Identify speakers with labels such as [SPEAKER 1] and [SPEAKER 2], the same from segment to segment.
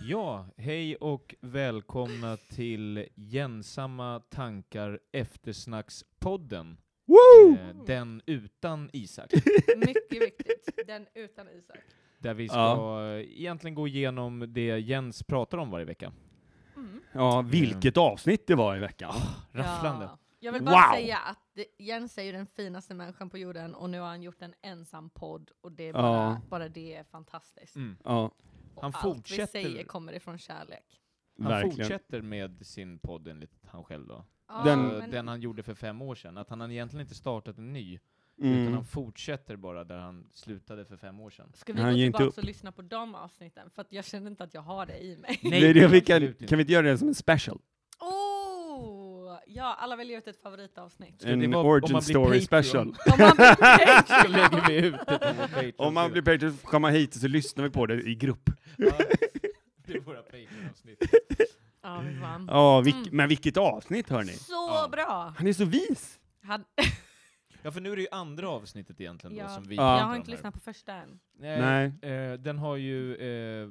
[SPEAKER 1] Ja, hej och välkomna till Gensamma tankar eftersnackspodden. Eh, den utan Isak.
[SPEAKER 2] Mycket viktigt. Den utan Isak.
[SPEAKER 1] Där vi ska
[SPEAKER 3] Ja.
[SPEAKER 1] eh, egentligen gå igenom det Jens pratar om varje vecka.
[SPEAKER 2] Mm.
[SPEAKER 3] Ja, vilket avsnitt det var i veckan.
[SPEAKER 1] Rafflande.
[SPEAKER 2] Ja. Jag vill bara
[SPEAKER 3] Wow.
[SPEAKER 2] säga att det- Jens är ju den finaste människan på jorden och nu har han gjort en ensam podd och det är bara,
[SPEAKER 3] Ja.
[SPEAKER 2] bara det är fantastiskt.
[SPEAKER 1] Mm.
[SPEAKER 3] Ja,
[SPEAKER 2] Och
[SPEAKER 1] Han
[SPEAKER 2] Allt vi
[SPEAKER 1] fortsätter-
[SPEAKER 2] säger kommer ifrån kärlek.
[SPEAKER 1] Han
[SPEAKER 3] verkligen.
[SPEAKER 1] fortsätter med sin podd enligt han själv då.
[SPEAKER 2] Ja,
[SPEAKER 3] Den-
[SPEAKER 1] Eh,
[SPEAKER 2] men-
[SPEAKER 1] Den han gjorde för fem år sedan. Att han egentligen inte startat en ny, utan
[SPEAKER 3] Mm.
[SPEAKER 1] han fortsätter bara där han slutade för fem år sedan.
[SPEAKER 2] Ska vi
[SPEAKER 3] Han
[SPEAKER 2] gå
[SPEAKER 3] ger inte
[SPEAKER 2] tillbaka
[SPEAKER 3] upp.
[SPEAKER 2] och lyssna på de avsnitten? För att jag känner inte att jag har det i mig.
[SPEAKER 3] Det är det vi kan,
[SPEAKER 1] absolut inte.
[SPEAKER 3] kan vi inte göra det som en special?
[SPEAKER 2] Oh! Ja, alla väljer ut ett favoritavsnitt.
[SPEAKER 1] Ska det
[SPEAKER 3] En
[SPEAKER 1] vara- om man
[SPEAKER 3] origin
[SPEAKER 1] blir
[SPEAKER 3] story
[SPEAKER 1] Patreon?
[SPEAKER 3] special.
[SPEAKER 2] Om man blir nöjd.
[SPEAKER 1] Så lägger vi ut det på vår Patreon.
[SPEAKER 3] Om man blir Patreon får man hit och så lyssnar vi på det i grupp.
[SPEAKER 1] Ja, det är våra Patreon-avsnitt.
[SPEAKER 2] ja, vi vann.
[SPEAKER 3] Ja, vilk,
[SPEAKER 2] Mm.
[SPEAKER 3] men vilket avsnitt hörni!
[SPEAKER 2] Så
[SPEAKER 1] Ja.
[SPEAKER 2] bra!
[SPEAKER 3] Han är så vis!
[SPEAKER 2] Han,
[SPEAKER 1] Ja, för nu är det ju andra avsnittet egentligen
[SPEAKER 2] Ja.
[SPEAKER 1] då som vi
[SPEAKER 3] Ja.
[SPEAKER 2] Jag
[SPEAKER 1] pratar
[SPEAKER 2] har
[SPEAKER 1] om
[SPEAKER 2] inte
[SPEAKER 1] här.
[SPEAKER 2] lyssnat på första än.
[SPEAKER 1] Nej.
[SPEAKER 3] Nej.
[SPEAKER 1] Eh, den har ju eh,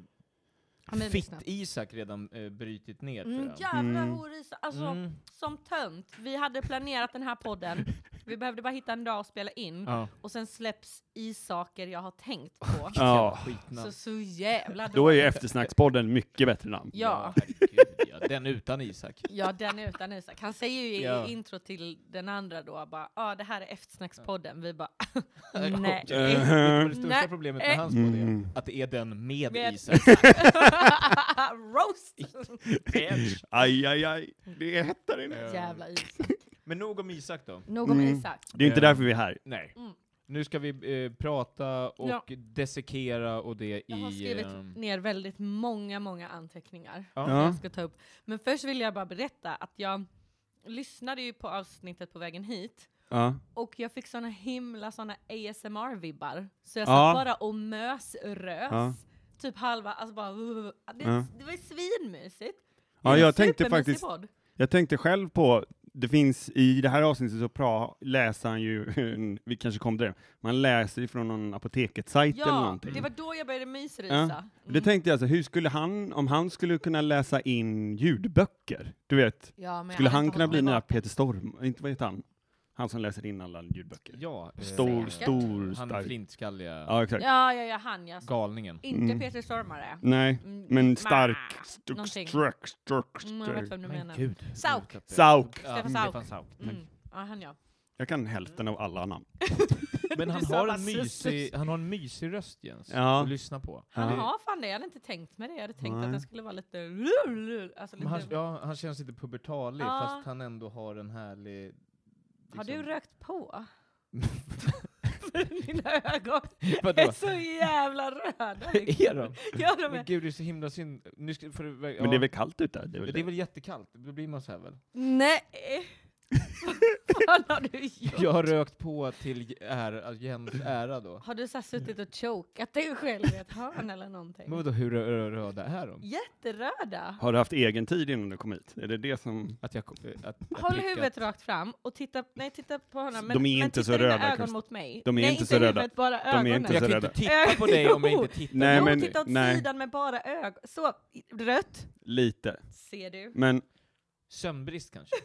[SPEAKER 2] Har ni lyssnat?
[SPEAKER 1] Fitt-Isak redan eh, brytit ner tror
[SPEAKER 2] Mm,
[SPEAKER 1] jag.
[SPEAKER 2] jävla
[SPEAKER 3] Mm.
[SPEAKER 2] horisa. Alltså,
[SPEAKER 1] Mm.
[SPEAKER 2] som tönt. Vi hade planerat den här podden. Vi behövde bara hitta en dag att spela in.
[SPEAKER 1] Ja.
[SPEAKER 2] Och sen släpps i saker jag har tänkt på.
[SPEAKER 3] Ja.
[SPEAKER 2] Så,
[SPEAKER 1] Skitnamn.
[SPEAKER 2] så jävla
[SPEAKER 3] Då är ju
[SPEAKER 2] dåligt.
[SPEAKER 3] eftersnackspodden mycket bättre namn.
[SPEAKER 2] Ja.
[SPEAKER 1] herregud, ja. Den utan Isak.
[SPEAKER 2] Ja, den är utan Isak. Han säger ju i
[SPEAKER 1] Ja.
[SPEAKER 2] intro till den andra då bara ja, ah, det här är eftersnackspodden. Vi bara
[SPEAKER 1] Vet du
[SPEAKER 2] nej.
[SPEAKER 1] vad det största
[SPEAKER 2] Nej.
[SPEAKER 1] problemet med hans podd är?
[SPEAKER 3] Mm.
[SPEAKER 1] Att det är den med,
[SPEAKER 2] Med-
[SPEAKER 1] Isak.
[SPEAKER 2] Roast!
[SPEAKER 1] Edge.
[SPEAKER 3] Aj, aj, aj. Det är hett där inne.
[SPEAKER 1] Eh,
[SPEAKER 2] Jävla Isak.
[SPEAKER 1] Men nog om Isak då.
[SPEAKER 2] Nog om
[SPEAKER 3] Mm.
[SPEAKER 2] Isak.
[SPEAKER 3] Det är inte
[SPEAKER 1] Eh.
[SPEAKER 3] därför vi är här.
[SPEAKER 1] Nej.
[SPEAKER 2] Mm.
[SPEAKER 1] Nu ska vi eh, prata och
[SPEAKER 2] Ja.
[SPEAKER 1] dissekera och det
[SPEAKER 2] Jag har
[SPEAKER 1] i...
[SPEAKER 2] skrivit
[SPEAKER 1] ehm,
[SPEAKER 2] ner väldigt många, många anteckningar.
[SPEAKER 1] Ja.
[SPEAKER 2] som
[SPEAKER 3] Ja.
[SPEAKER 2] Jag ska ta upp. Men först vill jag bara berätta att jag lyssnade ju på avsnittet på vägen hit
[SPEAKER 3] Ja.
[SPEAKER 2] och jag fick såna himla såna ASMR-vibbar. Så jag
[SPEAKER 3] Ja.
[SPEAKER 2] satt bara och mösrös.
[SPEAKER 3] Ja.
[SPEAKER 2] Typ halva, alltså bara... Det,
[SPEAKER 3] Ja.
[SPEAKER 2] det var ju svinmysigt.
[SPEAKER 3] Ja,
[SPEAKER 2] Det är en
[SPEAKER 3] jag tänkte
[SPEAKER 2] supermysig
[SPEAKER 3] faktiskt-
[SPEAKER 2] podd.
[SPEAKER 3] Jag tänkte själv på, det finns i det här avsnittet så pra, läser han ju, vi kanske kom till det, man läser ifrån någon apoteket-sajt eller
[SPEAKER 2] Ja,
[SPEAKER 3] någonting.
[SPEAKER 2] det var då jag började mysrysa.
[SPEAKER 3] Ja.
[SPEAKER 2] Mm.
[SPEAKER 3] Det tänkte jag, så, hur skulle han, om han skulle kunna läsa in ljudböcker, du vet,
[SPEAKER 2] Mm. Ja, men jag
[SPEAKER 3] skulle
[SPEAKER 2] hade
[SPEAKER 3] han
[SPEAKER 2] inte
[SPEAKER 3] kunna
[SPEAKER 2] hållit
[SPEAKER 3] bli
[SPEAKER 2] mig
[SPEAKER 3] den här
[SPEAKER 2] vaken.
[SPEAKER 3] Peter Storm, inte vad heter han? Han som läser in alla ljudböcker.
[SPEAKER 1] Ja. eh,
[SPEAKER 3] Stor,
[SPEAKER 2] Säkert.
[SPEAKER 3] stor,
[SPEAKER 1] Han
[SPEAKER 3] stark.
[SPEAKER 1] flintskalliga
[SPEAKER 3] Ja, exakt.
[SPEAKER 2] Ja, ja, ja, han ja.
[SPEAKER 1] galningen.
[SPEAKER 2] Inte
[SPEAKER 3] Mm.
[SPEAKER 2] Peter Stormare.
[SPEAKER 3] Nej,
[SPEAKER 2] Mm,
[SPEAKER 3] men
[SPEAKER 2] ma-
[SPEAKER 3] stark, stark,
[SPEAKER 2] någonting.
[SPEAKER 3] stark, stark,
[SPEAKER 2] Mm, jag vet
[SPEAKER 3] stark.
[SPEAKER 2] vem du menar.
[SPEAKER 1] gud.
[SPEAKER 2] Sauk.
[SPEAKER 3] Sauk.
[SPEAKER 1] Ja,
[SPEAKER 2] Stefan Sauk.
[SPEAKER 1] Stefan Sauk. tack.
[SPEAKER 2] Mm. Ja, han ja.
[SPEAKER 3] Jag kan hälften av alla namn.
[SPEAKER 1] Men han
[SPEAKER 2] Du sa
[SPEAKER 1] har,
[SPEAKER 2] bara
[SPEAKER 1] en
[SPEAKER 2] sus,
[SPEAKER 1] mysig,
[SPEAKER 2] sus.
[SPEAKER 1] han har en mysig röst Jens,
[SPEAKER 3] Ja.
[SPEAKER 1] att lyssna på.
[SPEAKER 2] Han
[SPEAKER 1] Det-
[SPEAKER 2] har fan det, jag hade inte tänkt med det. Jag hade tänkt
[SPEAKER 3] Nej.
[SPEAKER 2] att den skulle vara lite... lul, Alltså
[SPEAKER 1] men
[SPEAKER 2] lite...
[SPEAKER 1] han, ja, han känns lite pubertalig
[SPEAKER 2] Ja.
[SPEAKER 1] fast han ändå har en härlig...
[SPEAKER 2] Har du
[SPEAKER 1] liksom-
[SPEAKER 2] rökt på? Dina ögon
[SPEAKER 1] Vadå?
[SPEAKER 2] är så jävla röda.
[SPEAKER 1] Är de?
[SPEAKER 2] Ja, de
[SPEAKER 1] Men
[SPEAKER 2] är.
[SPEAKER 1] gud det är så himla synd. Nu ska, för, ja.
[SPEAKER 3] Men det är väl kallt ute? Det är
[SPEAKER 1] Ja,
[SPEAKER 3] väl
[SPEAKER 1] det är
[SPEAKER 3] det.
[SPEAKER 1] väl jättekallt, då blir man så här väl?
[SPEAKER 2] Nej! Vad har du gjort?
[SPEAKER 1] Jag har rökt på till ära, Jens ära då.
[SPEAKER 2] Har du så här suttit och chokat dig själv i ett hörn eller
[SPEAKER 1] Men
[SPEAKER 2] någonting?
[SPEAKER 1] vadå, hur rö- rö- röda är de?
[SPEAKER 2] Jätteröda!
[SPEAKER 3] Har du haft egen tid innan du kom hit? Är det det som...
[SPEAKER 1] Att jag, kom- eh, att, jag
[SPEAKER 2] Håll
[SPEAKER 1] prickat.
[SPEAKER 2] huvudet rakt fram och titta, nej, titta på honom. Men,
[SPEAKER 3] De är
[SPEAKER 2] men
[SPEAKER 3] inte
[SPEAKER 2] titta
[SPEAKER 3] så
[SPEAKER 2] dina
[SPEAKER 3] röda,
[SPEAKER 2] ögon
[SPEAKER 3] Karlsson.
[SPEAKER 2] mot mig.
[SPEAKER 3] De är
[SPEAKER 2] nej,
[SPEAKER 3] inte så röda.
[SPEAKER 2] Huvudet, bara
[SPEAKER 3] är
[SPEAKER 2] ögonen.
[SPEAKER 3] inte
[SPEAKER 1] Jag
[SPEAKER 3] så
[SPEAKER 1] kan ju
[SPEAKER 3] röda.
[SPEAKER 1] inte titta på dig om jag inte tittar
[SPEAKER 3] Nej,
[SPEAKER 2] jo,
[SPEAKER 1] på
[SPEAKER 3] men-
[SPEAKER 1] dig.
[SPEAKER 2] titta åt
[SPEAKER 3] nej.
[SPEAKER 2] sidan med bara ögon. Så, rött.
[SPEAKER 3] Lite.
[SPEAKER 2] Ser du?
[SPEAKER 3] Men,
[SPEAKER 1] Sömnbrist kanske?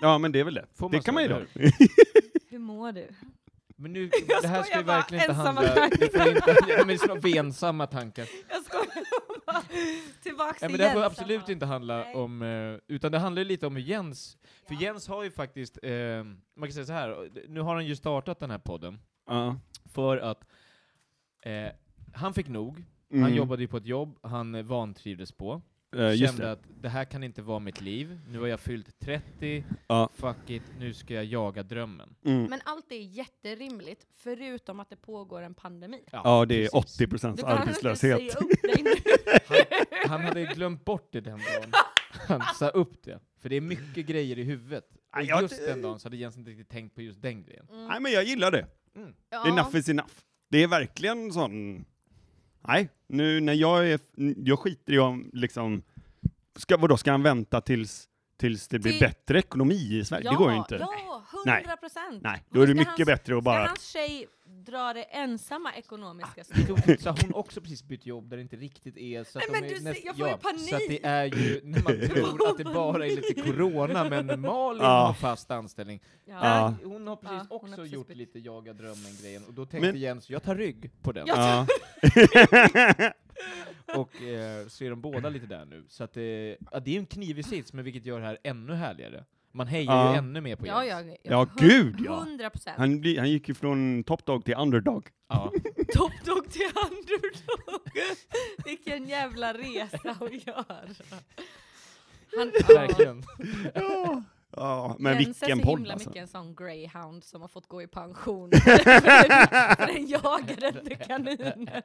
[SPEAKER 3] ja men det är väl det.
[SPEAKER 1] Får
[SPEAKER 3] det
[SPEAKER 1] man
[SPEAKER 3] kan man ju
[SPEAKER 1] så,
[SPEAKER 3] göra.
[SPEAKER 1] eller
[SPEAKER 2] Hur mår du?
[SPEAKER 1] Men nu,
[SPEAKER 2] Jag
[SPEAKER 1] det här ska
[SPEAKER 2] skojar
[SPEAKER 1] ju
[SPEAKER 2] bara,
[SPEAKER 1] verkligen inte
[SPEAKER 2] ensamma
[SPEAKER 1] handla...
[SPEAKER 2] tankar.
[SPEAKER 1] Det får inte, ja, men såna bensamma tankar.
[SPEAKER 2] Jag skojar bara. Tillbaks
[SPEAKER 1] Nej, men
[SPEAKER 2] till
[SPEAKER 1] det här får
[SPEAKER 2] Jens,
[SPEAKER 1] absolut
[SPEAKER 2] Anna.
[SPEAKER 1] inte handla
[SPEAKER 2] Nej.
[SPEAKER 1] om, eh, utan det handlar ju lite om hur Jens, för
[SPEAKER 2] Ja.
[SPEAKER 1] Jens har ju faktiskt, eh, man kan säga så här, nu har han ju startat den här podden
[SPEAKER 3] Ja.
[SPEAKER 1] för att eh, han fick nog,
[SPEAKER 3] Mm.
[SPEAKER 1] han jobbade ju på ett jobb han eh, vantrivdes på,
[SPEAKER 3] Eh, just
[SPEAKER 1] kände
[SPEAKER 3] det.
[SPEAKER 1] att det här kan inte vara mitt liv, nu har jag fyllt 30,
[SPEAKER 3] Ja.
[SPEAKER 1] fuck it, nu ska jag jaga drömmen.
[SPEAKER 3] Mm.
[SPEAKER 2] Men allt är jätterimligt, förutom att det pågår en pandemi.
[SPEAKER 3] Ja, det är
[SPEAKER 1] precis.
[SPEAKER 3] 80 procents
[SPEAKER 2] Du kan
[SPEAKER 3] arbetslöshet.
[SPEAKER 2] inte säga upp dig nu.
[SPEAKER 1] Han hade glömt bort det den dagen. Han sa upp det. För det är mycket grejer i huvudet. Och
[SPEAKER 3] Nej, jag-
[SPEAKER 1] just den dagen så hade Jens inte riktigt tänkt på just den grejen.
[SPEAKER 3] Nej, men jag gillar det.
[SPEAKER 2] Ja.
[SPEAKER 3] Enough is enough. Det är verkligen sån... Nej, nu när jag är... Jag skiter i om liksom... Ska, vadå, ska han vänta tills, tills det blir
[SPEAKER 2] Till-
[SPEAKER 3] bättre ekonomi i Sverige?
[SPEAKER 2] Ja,
[SPEAKER 3] det går ju inte.
[SPEAKER 2] Ja,
[SPEAKER 3] Nej.
[SPEAKER 2] 100 procent!
[SPEAKER 3] Nej, då är det
[SPEAKER 2] Ska
[SPEAKER 3] mycket
[SPEAKER 2] hans-
[SPEAKER 3] bättre att bara... Ah,
[SPEAKER 2] Ska hans tjej dra det ensamma ekonomiska
[SPEAKER 1] Jag
[SPEAKER 2] strået?
[SPEAKER 1] tror typ så här, hon också precis bytt jobb där det inte riktigt är så att de
[SPEAKER 2] Nej, men
[SPEAKER 1] är
[SPEAKER 2] du ser- jag får ju panik.
[SPEAKER 1] Så att det är ju, när man tror att det bara är lite corona, men Malin
[SPEAKER 3] Ja.
[SPEAKER 1] har fast anställning.
[SPEAKER 2] Ja.
[SPEAKER 1] Nej, Hon har precis
[SPEAKER 2] Ja, hon har
[SPEAKER 1] också
[SPEAKER 2] precis
[SPEAKER 1] gjort
[SPEAKER 2] bytt.
[SPEAKER 1] lite jaga drömmen-grejen, och då tänkte
[SPEAKER 3] Men-
[SPEAKER 1] Jens, jag tar rygg på den.
[SPEAKER 3] Ja.
[SPEAKER 2] Ja.
[SPEAKER 1] Och eh, så är de båda lite där nu. Så att, eh, ja, det är en knivig sits, men vilket gör det här ännu härligare. Man hejar
[SPEAKER 3] Ja.
[SPEAKER 1] ju ännu mer på
[SPEAKER 2] Ja,
[SPEAKER 1] Jens.
[SPEAKER 2] ja, ja.
[SPEAKER 3] Ja, gud, ja.
[SPEAKER 2] 100 procent.
[SPEAKER 3] Han, blir- han gick ju från topdog till underdog.
[SPEAKER 1] Ja.
[SPEAKER 2] Top dog till underdog. Vilken jävla resa hon gör. Han,
[SPEAKER 1] Verkligen.
[SPEAKER 3] Ja, men
[SPEAKER 2] Jens är
[SPEAKER 3] vilken
[SPEAKER 2] så
[SPEAKER 3] podd
[SPEAKER 2] himla
[SPEAKER 3] alltså.
[SPEAKER 2] mycket en sån greyhound som har fått gå i pension. för, den, för den jagar inte kaniner.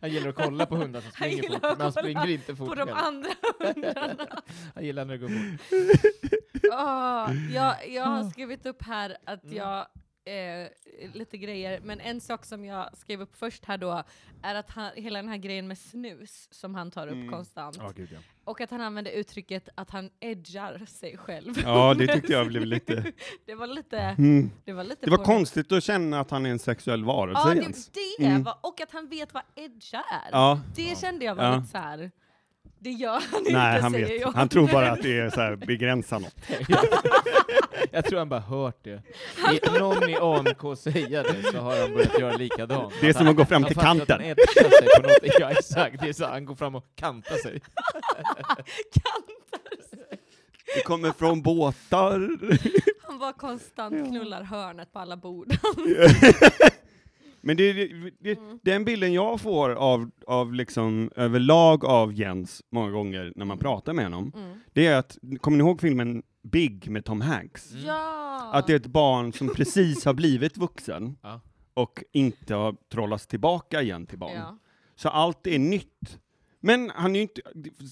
[SPEAKER 1] Han gillar att kolla på hundar som
[SPEAKER 2] Han
[SPEAKER 1] springer
[SPEAKER 2] gillar
[SPEAKER 1] fort,
[SPEAKER 2] att
[SPEAKER 1] men han
[SPEAKER 2] kolla
[SPEAKER 1] springer inte fort
[SPEAKER 2] På de
[SPEAKER 1] själv.
[SPEAKER 2] andra hundarna.
[SPEAKER 1] Han gillar när det går fort.
[SPEAKER 2] Åh, Ah, jag, jag
[SPEAKER 3] Ah.
[SPEAKER 2] har skrivit upp här att
[SPEAKER 3] Mm.
[SPEAKER 2] jag, eh, lite grejer, men en sak som jag skrev upp först här då, är att han, hela den här grejen med snus som han tar upp
[SPEAKER 3] Mm.
[SPEAKER 2] konstant,
[SPEAKER 3] Ja, gud, ja.
[SPEAKER 2] och att han använder uttrycket att han edgar sig själv.
[SPEAKER 3] Ja, det tyckte jag blev lite-
[SPEAKER 2] det var lite,
[SPEAKER 3] Mm.
[SPEAKER 2] det var lite
[SPEAKER 3] Det var
[SPEAKER 2] porno-
[SPEAKER 3] konstigt att känna att han är en sexuell varelse
[SPEAKER 2] Ja, det,
[SPEAKER 3] ens.
[SPEAKER 2] det
[SPEAKER 3] Mm.
[SPEAKER 2] var, och att han vet vad edga är.
[SPEAKER 3] Ja.
[SPEAKER 2] Det kände jag var
[SPEAKER 3] Ja.
[SPEAKER 2] lite såhär, det gör han
[SPEAKER 3] Nej,
[SPEAKER 2] inte
[SPEAKER 3] han
[SPEAKER 2] säger
[SPEAKER 3] vet.
[SPEAKER 2] jag.
[SPEAKER 3] Han tror bara att det är så här begränsa något.
[SPEAKER 1] Jag tror han bara hört det. I, någon i AMK säga det, så har han börjat göra likadant.
[SPEAKER 3] Det är
[SPEAKER 1] Att
[SPEAKER 3] som
[SPEAKER 1] han-
[SPEAKER 3] att gå fram
[SPEAKER 1] han
[SPEAKER 3] till
[SPEAKER 1] fattar att
[SPEAKER 3] kanten.
[SPEAKER 1] han etsar sig på något. Ja, exakt. Det är så, han går fram och kantar sig.
[SPEAKER 2] Kantar sig.
[SPEAKER 3] Det kommer från båtar.
[SPEAKER 2] Han var konstant knullar hörnet på alla bord.
[SPEAKER 3] Men det, det, det,
[SPEAKER 2] Mm.
[SPEAKER 3] den bilden jag får av, av liksom överlag av Jens många gånger när
[SPEAKER 2] Mm.
[SPEAKER 3] man pratar med honom, det är att, kommer ni ihåg filmen Big med Tom Hanks?
[SPEAKER 2] Ja!
[SPEAKER 3] Att det är ett barn som precis har blivit vuxen
[SPEAKER 1] Ja.
[SPEAKER 3] och inte har trollats tillbaka igen till barn.
[SPEAKER 2] Ja.
[SPEAKER 3] Så allt är nytt. Men han är ju inte,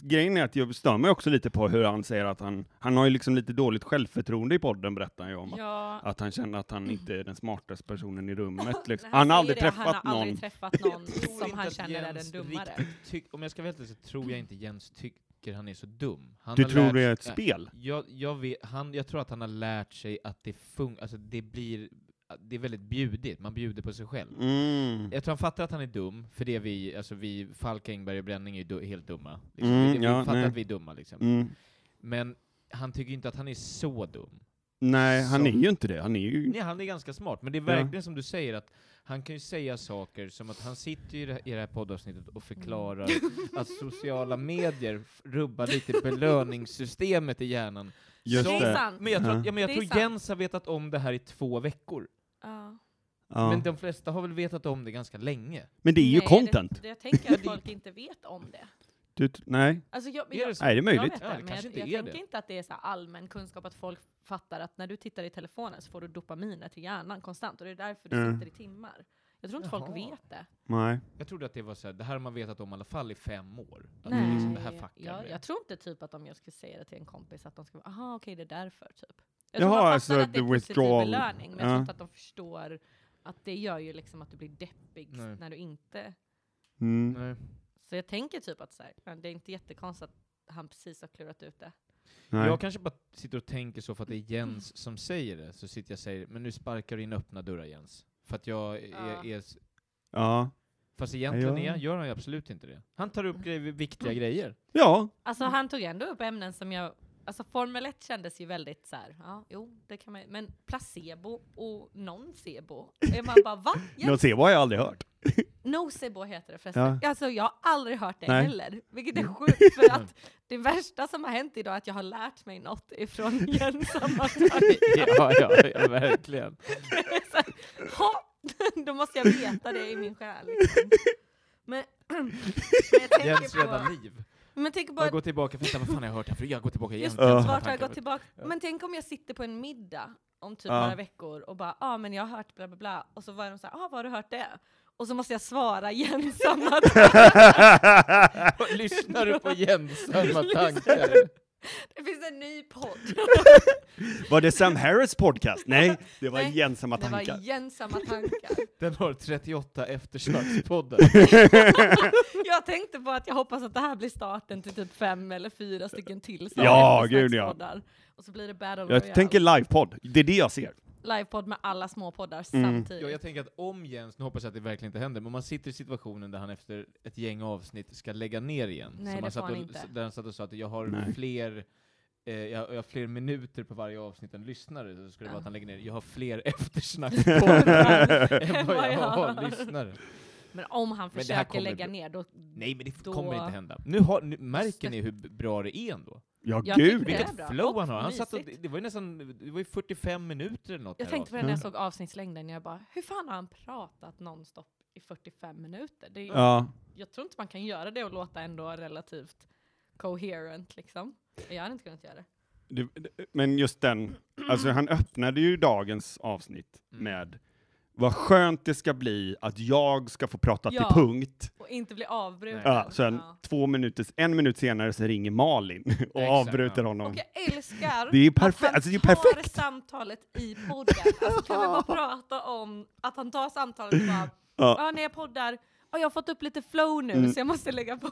[SPEAKER 3] grejen är att jag stör mig också lite på hur han säger att han, han har ju liksom lite dåligt självförtroende i podden berättar han ju om.
[SPEAKER 2] ja.
[SPEAKER 3] Att han känner att han inte är den smartaste personen i rummet. Liksom.
[SPEAKER 2] När
[SPEAKER 3] Han har
[SPEAKER 2] säger
[SPEAKER 3] aldrig
[SPEAKER 2] det,
[SPEAKER 3] träffat
[SPEAKER 2] han har
[SPEAKER 3] någon.
[SPEAKER 2] aldrig träffat någon
[SPEAKER 1] Jag tror
[SPEAKER 2] som
[SPEAKER 1] inte
[SPEAKER 2] han
[SPEAKER 1] att
[SPEAKER 2] känner är den
[SPEAKER 1] Jens
[SPEAKER 2] dummare.
[SPEAKER 1] riktigt tyck- om jag ska vara helt ärlig så tror jag inte Jens tycker han är så dum. Han
[SPEAKER 3] Du
[SPEAKER 1] har
[SPEAKER 3] tror
[SPEAKER 1] lärt
[SPEAKER 3] det är ett
[SPEAKER 1] sig-
[SPEAKER 3] spel?
[SPEAKER 1] Jag, jag, vet, han, jag tror att han har lärt sig att det funkar, alltså det blir, det är väldigt bjudigt, man bjuder på sig själv.
[SPEAKER 3] Mm.
[SPEAKER 1] Jag tror han fattar att han är dum, för det är vi, alltså vi, Falk, Engberg och Bränning är ju du, helt dumma. Liksom.
[SPEAKER 3] Mm,
[SPEAKER 1] vi, vi
[SPEAKER 3] ja,
[SPEAKER 1] fattar
[SPEAKER 3] nej.
[SPEAKER 1] att vi är dumma liksom.
[SPEAKER 3] Mm.
[SPEAKER 1] Men han tycker ju inte att han är så dum.
[SPEAKER 3] Nej, han
[SPEAKER 1] Så.
[SPEAKER 3] är ju inte det. Han är ju...
[SPEAKER 1] Nej, han är ganska smart, men det är verkligen som du säger att han kan ju säga saker som att han sitter ju i det- i det här poddavsnittet och förklarar
[SPEAKER 3] Mm.
[SPEAKER 1] att sociala medier f- rubbar lite belöningssystemet i hjärnan.
[SPEAKER 3] Just
[SPEAKER 2] det är
[SPEAKER 1] Som-
[SPEAKER 3] det.
[SPEAKER 2] sant.
[SPEAKER 1] Men jag tror,
[SPEAKER 3] Ja.
[SPEAKER 1] att- ja, men jag
[SPEAKER 2] Det är
[SPEAKER 1] tror
[SPEAKER 2] sant.
[SPEAKER 1] Jens har vetat om det här i två veckor.
[SPEAKER 2] Ja.
[SPEAKER 3] Ja.
[SPEAKER 1] Men de flesta har väl vetat om det ganska länge?
[SPEAKER 3] Men det är ju
[SPEAKER 2] Nej,
[SPEAKER 3] content.
[SPEAKER 2] Det, det, jag tänker att folk inte vet om det.
[SPEAKER 3] Du, t- nej.
[SPEAKER 2] Alltså jag,
[SPEAKER 1] Är
[SPEAKER 2] jag,
[SPEAKER 1] det så?
[SPEAKER 3] nej, det är
[SPEAKER 2] jag
[SPEAKER 3] möjligt.
[SPEAKER 2] vet
[SPEAKER 1] Ja, det
[SPEAKER 2] det, men jag,
[SPEAKER 1] kanske inte
[SPEAKER 2] jag
[SPEAKER 1] är
[SPEAKER 2] tänker
[SPEAKER 1] det.
[SPEAKER 2] inte att det är så här allmän kunskap att folk fattar att när du tittar i telefonen så får du dopaminet i hjärnan konstant och det är därför du
[SPEAKER 3] Mm.
[SPEAKER 2] sitter i timmar. Jag tror inte
[SPEAKER 1] Jaha.
[SPEAKER 2] folk vet det.
[SPEAKER 3] Nej.
[SPEAKER 1] Jag trodde att det var så här, det här har man vetat om i alla fall i fem år. Att
[SPEAKER 3] Nej.
[SPEAKER 1] det, liksom, det här fuckar
[SPEAKER 2] jag,
[SPEAKER 1] med.
[SPEAKER 2] jag tror inte typ att om jag skulle säga det till en kompis att de skulle vara aha okej det är därför typ. Jag
[SPEAKER 3] Jaha,
[SPEAKER 2] tror man
[SPEAKER 3] alltså,
[SPEAKER 2] fattar att det är
[SPEAKER 3] the
[SPEAKER 2] en positiv
[SPEAKER 3] withdrawal.
[SPEAKER 2] belöning men jag
[SPEAKER 3] Ja.
[SPEAKER 2] tror inte att de förstår att det gör ju liksom att du blir deppig
[SPEAKER 1] Nej.
[SPEAKER 2] när du inte...
[SPEAKER 3] Mm.
[SPEAKER 1] Nej.
[SPEAKER 2] Så jag tänker typ att så här, men det är inte jättekonstigt att han precis har klurat ut det.
[SPEAKER 3] Nej.
[SPEAKER 1] Jag kanske bara sitter och tänker så för att det är Jens som säger det, så sitter jag och säger men nu sparkar du in öppna dörrar Jens. För att jag
[SPEAKER 2] Ja.
[SPEAKER 1] är, är s-
[SPEAKER 3] Ja.
[SPEAKER 1] fast egentligen
[SPEAKER 3] Ja.
[SPEAKER 1] är, gör han ju absolut inte det. Han tar upp grejer, viktiga
[SPEAKER 2] Mm.
[SPEAKER 1] grejer.
[SPEAKER 3] Ja.
[SPEAKER 2] Alltså han tog ändå upp ämnen som jag... Alltså Formel 1 kändes ju väldigt så här, ja jo det kan man ju- Men placebo och nocebo, är man bara va? Jag
[SPEAKER 3] Något se vad har jag aldrig hört.
[SPEAKER 2] Nocebo heter det förresten.
[SPEAKER 3] Ja.
[SPEAKER 2] Alltså jag har aldrig hört det
[SPEAKER 3] Nej. Mm.
[SPEAKER 2] heller. Vilket är sjukt för att det värsta som har hänt idag är att jag har lärt mig något ifrån Jens sammanhang.
[SPEAKER 1] ja, ja, ja, verkligen.
[SPEAKER 2] Så här, ha, Då måste jag veta det i min själ. Liksom. Men, men jag
[SPEAKER 1] Jens
[SPEAKER 2] tänker på...
[SPEAKER 1] räddar liv.
[SPEAKER 2] Men tänk på
[SPEAKER 1] Jag går tillbaka, för vad fan har jag hört det här för? Jag går tillbaka igen.
[SPEAKER 2] Just
[SPEAKER 3] Ja.
[SPEAKER 2] vart har jag gått tillbaka? Men tänk om jag sitter på en middag om typ
[SPEAKER 3] Ja.
[SPEAKER 2] några veckor och bara ah, men jag har hört bla bla bla och så var de så här ah, var har du hört det? Och så måste jag svara igen samma dag.
[SPEAKER 1] Lyssnar du på Jens samma tankar?
[SPEAKER 2] Det finns en ny podd.
[SPEAKER 3] Var det Sam Harris podcast? Nej, det var
[SPEAKER 2] Nej,
[SPEAKER 3] Gensamma
[SPEAKER 2] Det
[SPEAKER 3] tankar.
[SPEAKER 2] var gemensamma tankar.
[SPEAKER 1] Den har 38 eftersnackspoddar.
[SPEAKER 2] Jag tänkte bara att jag hoppas att det här blir starten till typ fem eller fyra stycken till såna
[SPEAKER 3] Ja,
[SPEAKER 2] eftersnackspoddar.
[SPEAKER 3] gud, ja.
[SPEAKER 2] Och så blir det Battle Royale.
[SPEAKER 3] Jag tänker livepodd, det är det jag ser.
[SPEAKER 2] Livepodd med alla små poddar
[SPEAKER 3] Mm.
[SPEAKER 2] samtidigt.
[SPEAKER 1] Ja, jag tänker att om Jens, nu hoppas jag att det verkligen inte händer, men om man sitter i situationen där han efter ett gäng avsnitt ska lägga ner igen.
[SPEAKER 2] Nej,
[SPEAKER 1] som
[SPEAKER 2] det
[SPEAKER 1] han
[SPEAKER 2] får
[SPEAKER 1] satt
[SPEAKER 2] han
[SPEAKER 1] och,
[SPEAKER 2] inte.
[SPEAKER 1] Där han satt och sa att jag har
[SPEAKER 3] Nej.
[SPEAKER 1] fler eh, jag, jag har fler minuter på varje avsnitt än lyssnare, så skulle det
[SPEAKER 2] Ja.
[SPEAKER 1] vara att han lägger ner jag har fler eftersnackspoddar än vad jag har lyssnare.
[SPEAKER 2] Men om han
[SPEAKER 1] Men det här
[SPEAKER 2] försöker
[SPEAKER 1] kommer
[SPEAKER 2] lägga
[SPEAKER 1] bli-
[SPEAKER 2] ner då...
[SPEAKER 1] Nej men det
[SPEAKER 2] Då-
[SPEAKER 1] kommer inte hända. Nu, har, nu märker ni hur bra det är ändå.
[SPEAKER 3] Ja,
[SPEAKER 2] Jag
[SPEAKER 3] gud.
[SPEAKER 2] tycker
[SPEAKER 3] ja.
[SPEAKER 2] det.
[SPEAKER 1] Vilket
[SPEAKER 2] bra.
[SPEAKER 1] flow
[SPEAKER 2] Och
[SPEAKER 1] han har. Han satt och,
[SPEAKER 2] mysigt.
[SPEAKER 1] det var ju nästan det var ju 45 minuter eller något.
[SPEAKER 2] Jag
[SPEAKER 1] där
[SPEAKER 2] tänkte
[SPEAKER 1] avsnittet.
[SPEAKER 2] på det när jag
[SPEAKER 3] Mm.
[SPEAKER 2] såg avsnittslängden, jag bara hur fan har han pratat nonstop i 45 minuter? Det är,
[SPEAKER 3] Ja.
[SPEAKER 2] Jag tror inte man kan göra det och låta ändå relativt coherent liksom. Jag hade inte kunnat göra det.
[SPEAKER 3] Det, det- men just den, alltså han öppnade ju dagens avsnitt
[SPEAKER 1] Mm.
[SPEAKER 3] med vad skönt det ska bli att jag ska få prata
[SPEAKER 2] Ja.
[SPEAKER 3] till punkt.
[SPEAKER 2] Och inte bli avbruten.
[SPEAKER 3] Ja, sen
[SPEAKER 2] Ja.
[SPEAKER 3] två minuter, en minut senare så ringer Malin och
[SPEAKER 1] Exakt,
[SPEAKER 3] avbryter
[SPEAKER 1] ja.
[SPEAKER 3] honom.
[SPEAKER 2] Och jag älskar
[SPEAKER 3] Det är ju
[SPEAKER 2] att
[SPEAKER 3] perfekt,
[SPEAKER 2] han
[SPEAKER 3] alltså det är ju
[SPEAKER 2] tar
[SPEAKER 3] perfekt!
[SPEAKER 2] samtalet i podden. Alltså kan vi bara prata om att han tar samtalet och bara
[SPEAKER 3] Ja.
[SPEAKER 2] ja, när jag poddar, ja, jag har fått upp lite flow nu
[SPEAKER 3] Mm.
[SPEAKER 2] så jag måste lägga på.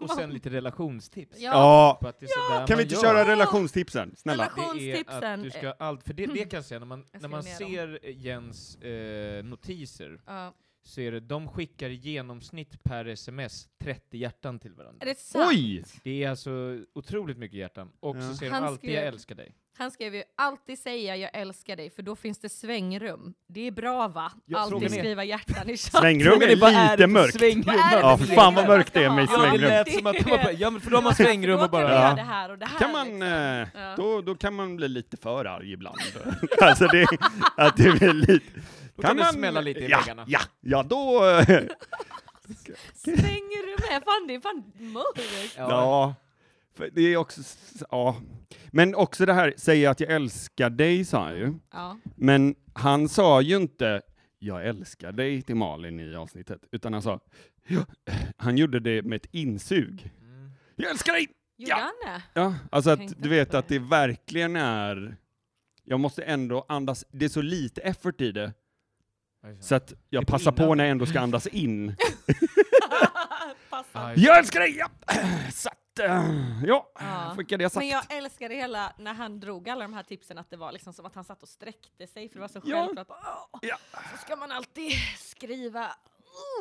[SPEAKER 1] Och sen lite relationstips.
[SPEAKER 2] Ja.
[SPEAKER 3] Ja,
[SPEAKER 1] För att det är sådär
[SPEAKER 3] kan
[SPEAKER 1] man
[SPEAKER 3] vi inte
[SPEAKER 1] gör.
[SPEAKER 3] köra relationstipsen? Snälla.
[SPEAKER 2] Relation-
[SPEAKER 1] Det är att
[SPEAKER 2] Relationstipsen.
[SPEAKER 1] du ska allt, för det, det kan jag säga, när man,
[SPEAKER 2] Jag
[SPEAKER 1] när man
[SPEAKER 2] skriver
[SPEAKER 1] ser Jens eh, notiser
[SPEAKER 2] Ja.
[SPEAKER 1] så är det, de skickar i genomsnitt per sms 30 hjärtan till varandra.
[SPEAKER 2] Är det sant?
[SPEAKER 3] Oj!
[SPEAKER 1] Det är alltså otroligt mycket hjärtan. Och
[SPEAKER 3] Ja.
[SPEAKER 1] så säger
[SPEAKER 2] Han
[SPEAKER 1] de alltid jag
[SPEAKER 2] skrev-
[SPEAKER 1] älskar dig.
[SPEAKER 2] Han skrev ju alltid säga jag älskar dig för då finns det svängrum. Det är bra va?
[SPEAKER 1] Ja,
[SPEAKER 2] alltid
[SPEAKER 1] frågan är-
[SPEAKER 2] skriva hjärtan i chatten.
[SPEAKER 3] Svängrummet
[SPEAKER 1] Vad
[SPEAKER 3] är
[SPEAKER 1] det
[SPEAKER 3] lite
[SPEAKER 1] för
[SPEAKER 3] mörkt.
[SPEAKER 1] svängrum?
[SPEAKER 2] Vad är det
[SPEAKER 3] Ja,
[SPEAKER 2] för
[SPEAKER 3] för fan vad
[SPEAKER 2] svängrum
[SPEAKER 3] mörkt
[SPEAKER 2] man
[SPEAKER 3] det är med
[SPEAKER 2] ska ha?
[SPEAKER 1] Ja, det
[SPEAKER 3] svängrum.
[SPEAKER 1] lät som att de var på, ja men för då har man
[SPEAKER 2] Då
[SPEAKER 1] svängrum
[SPEAKER 2] kan
[SPEAKER 1] och
[SPEAKER 2] vi
[SPEAKER 1] bara...
[SPEAKER 2] göra
[SPEAKER 3] Ja.
[SPEAKER 2] det här och det här.
[SPEAKER 3] kan man,
[SPEAKER 2] liksom.
[SPEAKER 3] eh,
[SPEAKER 2] Ja.
[SPEAKER 3] då, då kan man bli lite för arg ibland. alltså det, att det blir lite...
[SPEAKER 1] Då kan det smälla lite i
[SPEAKER 3] ja,
[SPEAKER 1] väggarna.
[SPEAKER 3] Ja, ja då... eh,
[SPEAKER 2] Svängrum är fan, det är fan mörkt.
[SPEAKER 1] Ja.
[SPEAKER 3] ja. För det är också... s- Ja. Men också det här, säga att jag älskar dig, sa han ju.
[SPEAKER 2] Ja.
[SPEAKER 3] Men han sa ju inte jag älskar dig till Malin i avsnittet, utan han sa ja. han gjorde det med ett insug.
[SPEAKER 1] Mm.
[SPEAKER 3] Jag älskar dig!
[SPEAKER 2] Gjorde
[SPEAKER 3] Ja.
[SPEAKER 2] han det?
[SPEAKER 3] Ja, alltså
[SPEAKER 2] Jag
[SPEAKER 3] att
[SPEAKER 2] tänkte
[SPEAKER 3] du
[SPEAKER 2] inte
[SPEAKER 3] vet
[SPEAKER 2] på
[SPEAKER 3] att
[SPEAKER 2] det.
[SPEAKER 3] det verkligen är, jag måste ändå andas, det är så lite effort i det, så att
[SPEAKER 1] Det
[SPEAKER 3] jag
[SPEAKER 1] är på
[SPEAKER 3] passar på
[SPEAKER 1] innan.
[SPEAKER 3] när jag ändå ska andas in.
[SPEAKER 2] Passar.
[SPEAKER 1] Aj.
[SPEAKER 3] jag älskar dig! Ja. Så att, eh, ja,
[SPEAKER 2] Ja.
[SPEAKER 3] fick jag det sagt.
[SPEAKER 2] Men jag älskade hela när han drog alla de här tipsen att det var liksom som att han satt och sträckte sig för det var så
[SPEAKER 3] Ja.
[SPEAKER 2] självklart. Bara, "Åh,
[SPEAKER 3] Ja.
[SPEAKER 2] Så ska man alltid skriva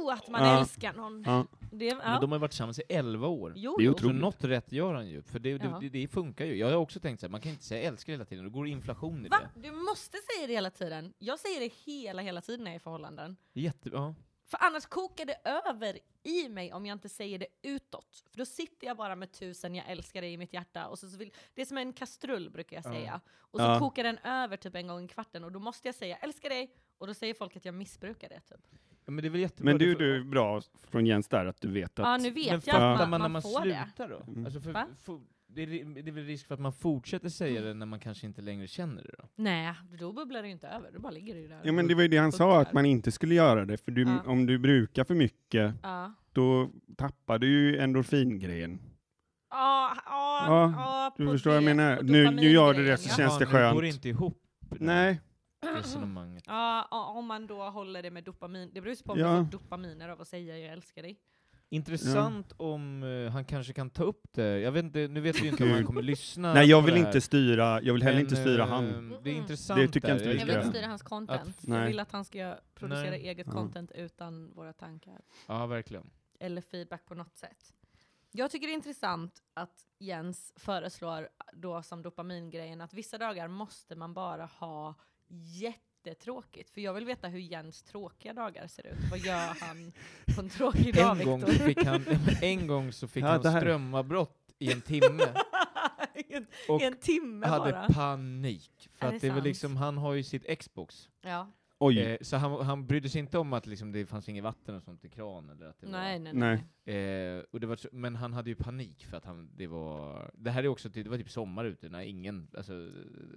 [SPEAKER 2] oh, att man
[SPEAKER 3] Ja.
[SPEAKER 2] älskar någon.
[SPEAKER 3] Ja.
[SPEAKER 2] Det, ja.
[SPEAKER 1] Men de har ju varit tillsammans i 11 år.
[SPEAKER 2] Jo,
[SPEAKER 3] Det är
[SPEAKER 2] jo.
[SPEAKER 1] Så
[SPEAKER 3] otroligt.
[SPEAKER 1] något rätt gör han ju, för det, det,
[SPEAKER 2] Ja.
[SPEAKER 1] det, det funkar ju. Jag har också tänkt så här, man kan inte säga älskar hela tiden, då går det inflation i
[SPEAKER 2] Va?
[SPEAKER 1] det.
[SPEAKER 2] Du måste säga det hela tiden. Jag säger det hela, hela tiden när jag är i förhållanden.
[SPEAKER 1] Jätte, ja.
[SPEAKER 2] För annars kokar det över i mig om jag inte säger det utåt. För då sitter jag bara med tusen jag älskar dig i mitt hjärta. Och så så vill, det är som en kastrull brukar jag
[SPEAKER 1] Ja.
[SPEAKER 2] säga. Och så
[SPEAKER 3] Ja.
[SPEAKER 2] kokar den över typ en gång i kvarten och då måste jag säga älskar dig. Och då säger folk att jag missbrukar det typ.
[SPEAKER 1] Ja, men det är väl jättebra.
[SPEAKER 3] Men du,
[SPEAKER 1] det får-
[SPEAKER 3] du är bra från Jens där, att du vet att...
[SPEAKER 2] Ja nu vet
[SPEAKER 1] men
[SPEAKER 2] jag att
[SPEAKER 1] fattar man
[SPEAKER 2] man,
[SPEAKER 1] när
[SPEAKER 2] man,
[SPEAKER 1] man
[SPEAKER 2] får det.
[SPEAKER 1] slutar då?
[SPEAKER 3] Mm.
[SPEAKER 1] Alltså för,
[SPEAKER 2] Va? Mm.
[SPEAKER 1] for, det, är, ri- det är väl risk för att man fortsätter säga det när man kanske inte längre känner det då?
[SPEAKER 2] Nej, då bubblar det ju inte över. Då bara ligger det ju där.
[SPEAKER 3] Ja, men det var ju det han sa, att man inte skulle göra det, för du,
[SPEAKER 2] Ja.
[SPEAKER 3] om du brukar för mycket,
[SPEAKER 2] Ja.
[SPEAKER 3] då tappar du ju endorfingrejen.
[SPEAKER 2] Ja, ja,
[SPEAKER 3] Ja,
[SPEAKER 2] ja,
[SPEAKER 3] du
[SPEAKER 2] på
[SPEAKER 3] förstår vad jag
[SPEAKER 2] det.
[SPEAKER 3] menar.
[SPEAKER 2] På
[SPEAKER 3] Nu- nu gör du det
[SPEAKER 2] dopamingrejen,
[SPEAKER 3] så
[SPEAKER 2] ja.
[SPEAKER 3] känns det
[SPEAKER 1] Jaha, nu går
[SPEAKER 3] skönt.
[SPEAKER 1] det inte ihop? det här
[SPEAKER 3] Nej.
[SPEAKER 1] Resonemanget.
[SPEAKER 2] Ja, ja, om man då håller det med dopamin. Det beror ju på om
[SPEAKER 3] Ja.
[SPEAKER 2] du får dopaminer av att säga jag älskar dig.
[SPEAKER 1] Intressant om eh, han kanske kan ta upp det. Jag vet inte, nu vet vi ju inte om han kommer lyssna
[SPEAKER 3] Nej, jag
[SPEAKER 1] på
[SPEAKER 3] vill
[SPEAKER 1] det här.
[SPEAKER 3] inte styra, jag vill heller
[SPEAKER 1] Men,
[SPEAKER 3] inte styra
[SPEAKER 1] eh,
[SPEAKER 3] han.
[SPEAKER 1] Det är intressant.
[SPEAKER 3] Det tycker jag inte vi
[SPEAKER 2] Jag
[SPEAKER 3] ska
[SPEAKER 2] vill inte
[SPEAKER 3] göra.
[SPEAKER 2] styra hans content. jag
[SPEAKER 3] nej.
[SPEAKER 2] vill att han ska producera
[SPEAKER 1] Nej.
[SPEAKER 2] eget
[SPEAKER 3] Ja.
[SPEAKER 2] content utan våra tankar.
[SPEAKER 1] Ja, verkligen.
[SPEAKER 2] Eller feedback på något sätt. Jag tycker det är intressant att Jens föreslår då som dopamingrejen att vissa dagar måste man bara ha jättetråkigt. För jag vill veta hur Jens tråkiga dagar ser ut. Vad gör han på en tråkig dag,
[SPEAKER 1] En gång,
[SPEAKER 2] Viktor?
[SPEAKER 1] fick han, en gång så fick
[SPEAKER 3] Ja, det
[SPEAKER 1] han
[SPEAKER 3] här-
[SPEAKER 1] strömavbrott i en timme.
[SPEAKER 2] I en-
[SPEAKER 1] Och
[SPEAKER 2] I en timme
[SPEAKER 1] hade
[SPEAKER 2] bara.
[SPEAKER 1] panik. För
[SPEAKER 2] Är
[SPEAKER 1] att det
[SPEAKER 2] det
[SPEAKER 1] är väl
[SPEAKER 2] sant?
[SPEAKER 1] liksom, han har ju sitt Xbox.
[SPEAKER 2] Ja.
[SPEAKER 3] Oj.
[SPEAKER 1] Eh, så han, han brydde sig inte om att liksom, det fanns inget vatten och sånt i kranen. Eller att det
[SPEAKER 2] Nej, nej,
[SPEAKER 3] Nej.
[SPEAKER 2] nej.
[SPEAKER 1] Var, eh, och det var, så- men han hade ju panik för att han, det var... Det här är också, typ- det var typ sommar ute, när ingen, alltså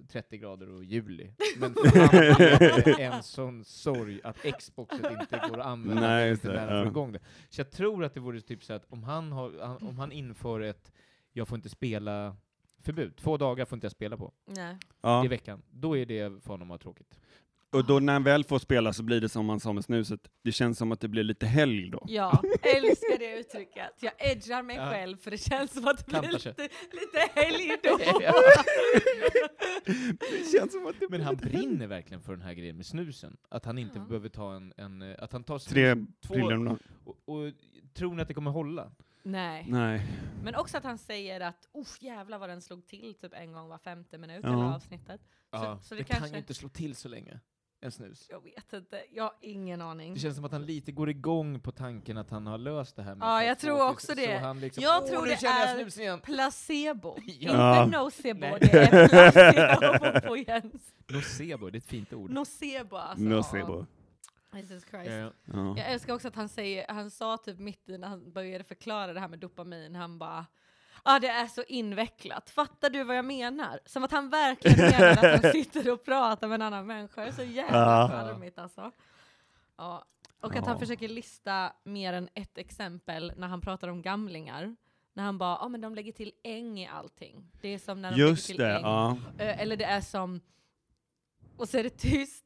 [SPEAKER 1] 30 grader och juli. Men för han hade en sån sorg att Xboxet inte går att använda.
[SPEAKER 3] Nej,
[SPEAKER 1] det är
[SPEAKER 3] just
[SPEAKER 1] inte
[SPEAKER 3] det,
[SPEAKER 1] där han får
[SPEAKER 3] ja.
[SPEAKER 1] igång det. Så jag tror att det vore typ så att om han, har, han, om han inför ett, jag får inte spela förbud. Två dagar får inte jag spela på
[SPEAKER 2] Nej.
[SPEAKER 1] i
[SPEAKER 3] Ja.
[SPEAKER 1] veckan. Då är det för honom att ha tråkigt.
[SPEAKER 3] Och då när han väl får spela så blir det som han sa med snuset, det känns som att det blir lite helg då.
[SPEAKER 2] Ja, älskar det uttrycket. Jag edgar mig
[SPEAKER 1] Ja.
[SPEAKER 2] själv för det känns som att det blir
[SPEAKER 1] Kantar sig.
[SPEAKER 2] lite, lite helg då.
[SPEAKER 3] Det känns som att det
[SPEAKER 1] Men han brinner verkligen för den här grejen med snusen. Att han inte
[SPEAKER 2] Ja.
[SPEAKER 1] behöver ta en, en... eh, Att han tar snus
[SPEAKER 3] Tre
[SPEAKER 1] två...
[SPEAKER 3] prillor om dagen.
[SPEAKER 1] Och, och tror ni att det kommer hålla?
[SPEAKER 2] Nej.
[SPEAKER 3] Nej.
[SPEAKER 2] Men också att han säger att uff jävlar vad den slog till typ en gång var femte minut
[SPEAKER 3] Ja.
[SPEAKER 2] eller avsnittet.
[SPEAKER 1] Ja.
[SPEAKER 2] så det
[SPEAKER 1] det kan
[SPEAKER 2] kanske-
[SPEAKER 1] ju inte slå till så länge, en snus.
[SPEAKER 2] Jag vet inte, jag har ingen aning.
[SPEAKER 1] Det känns som att han lite går igång på tanken att han har löst det här med
[SPEAKER 2] Ja,
[SPEAKER 1] att ha
[SPEAKER 2] jag tror
[SPEAKER 1] tråkigt,
[SPEAKER 2] också
[SPEAKER 1] så
[SPEAKER 2] det.
[SPEAKER 1] han liksom,
[SPEAKER 2] Jag
[SPEAKER 1] "Åh,
[SPEAKER 2] tror
[SPEAKER 1] nu
[SPEAKER 2] det
[SPEAKER 1] känner jag
[SPEAKER 2] är-
[SPEAKER 1] snusen igen.
[SPEAKER 2] Placebo.
[SPEAKER 1] Ja.
[SPEAKER 2] Inte nocebo,
[SPEAKER 1] Nej.
[SPEAKER 2] det är placebo på Jens.
[SPEAKER 1] Nocebo, det är ett fint ord.
[SPEAKER 2] Nocebo alltså.
[SPEAKER 3] Nocebo.
[SPEAKER 2] Ja. Jesus Christ.
[SPEAKER 1] Eh,
[SPEAKER 3] Ja.
[SPEAKER 2] Jag älskar också att han säger, han sa typ mitt i när han började förklara det här med dopamin, han bara Ja ah, det är så invecklat, fattar du vad jag menar? Som att han verkligen menar att han sitter och pratar med en annan människa, det är så jävla
[SPEAKER 3] Ja.
[SPEAKER 2] charmigt alltså. Ja. Och att han
[SPEAKER 3] Ja.
[SPEAKER 2] försöker lista mer än ett exempel när han pratar om gamlingar. När han bara, ja ah, men de lägger till äng i allting. Det är som när de
[SPEAKER 3] Just
[SPEAKER 2] lägger till
[SPEAKER 3] det,
[SPEAKER 2] äng.
[SPEAKER 3] ja.
[SPEAKER 2] Eh, Eller det är som, och så är det tyst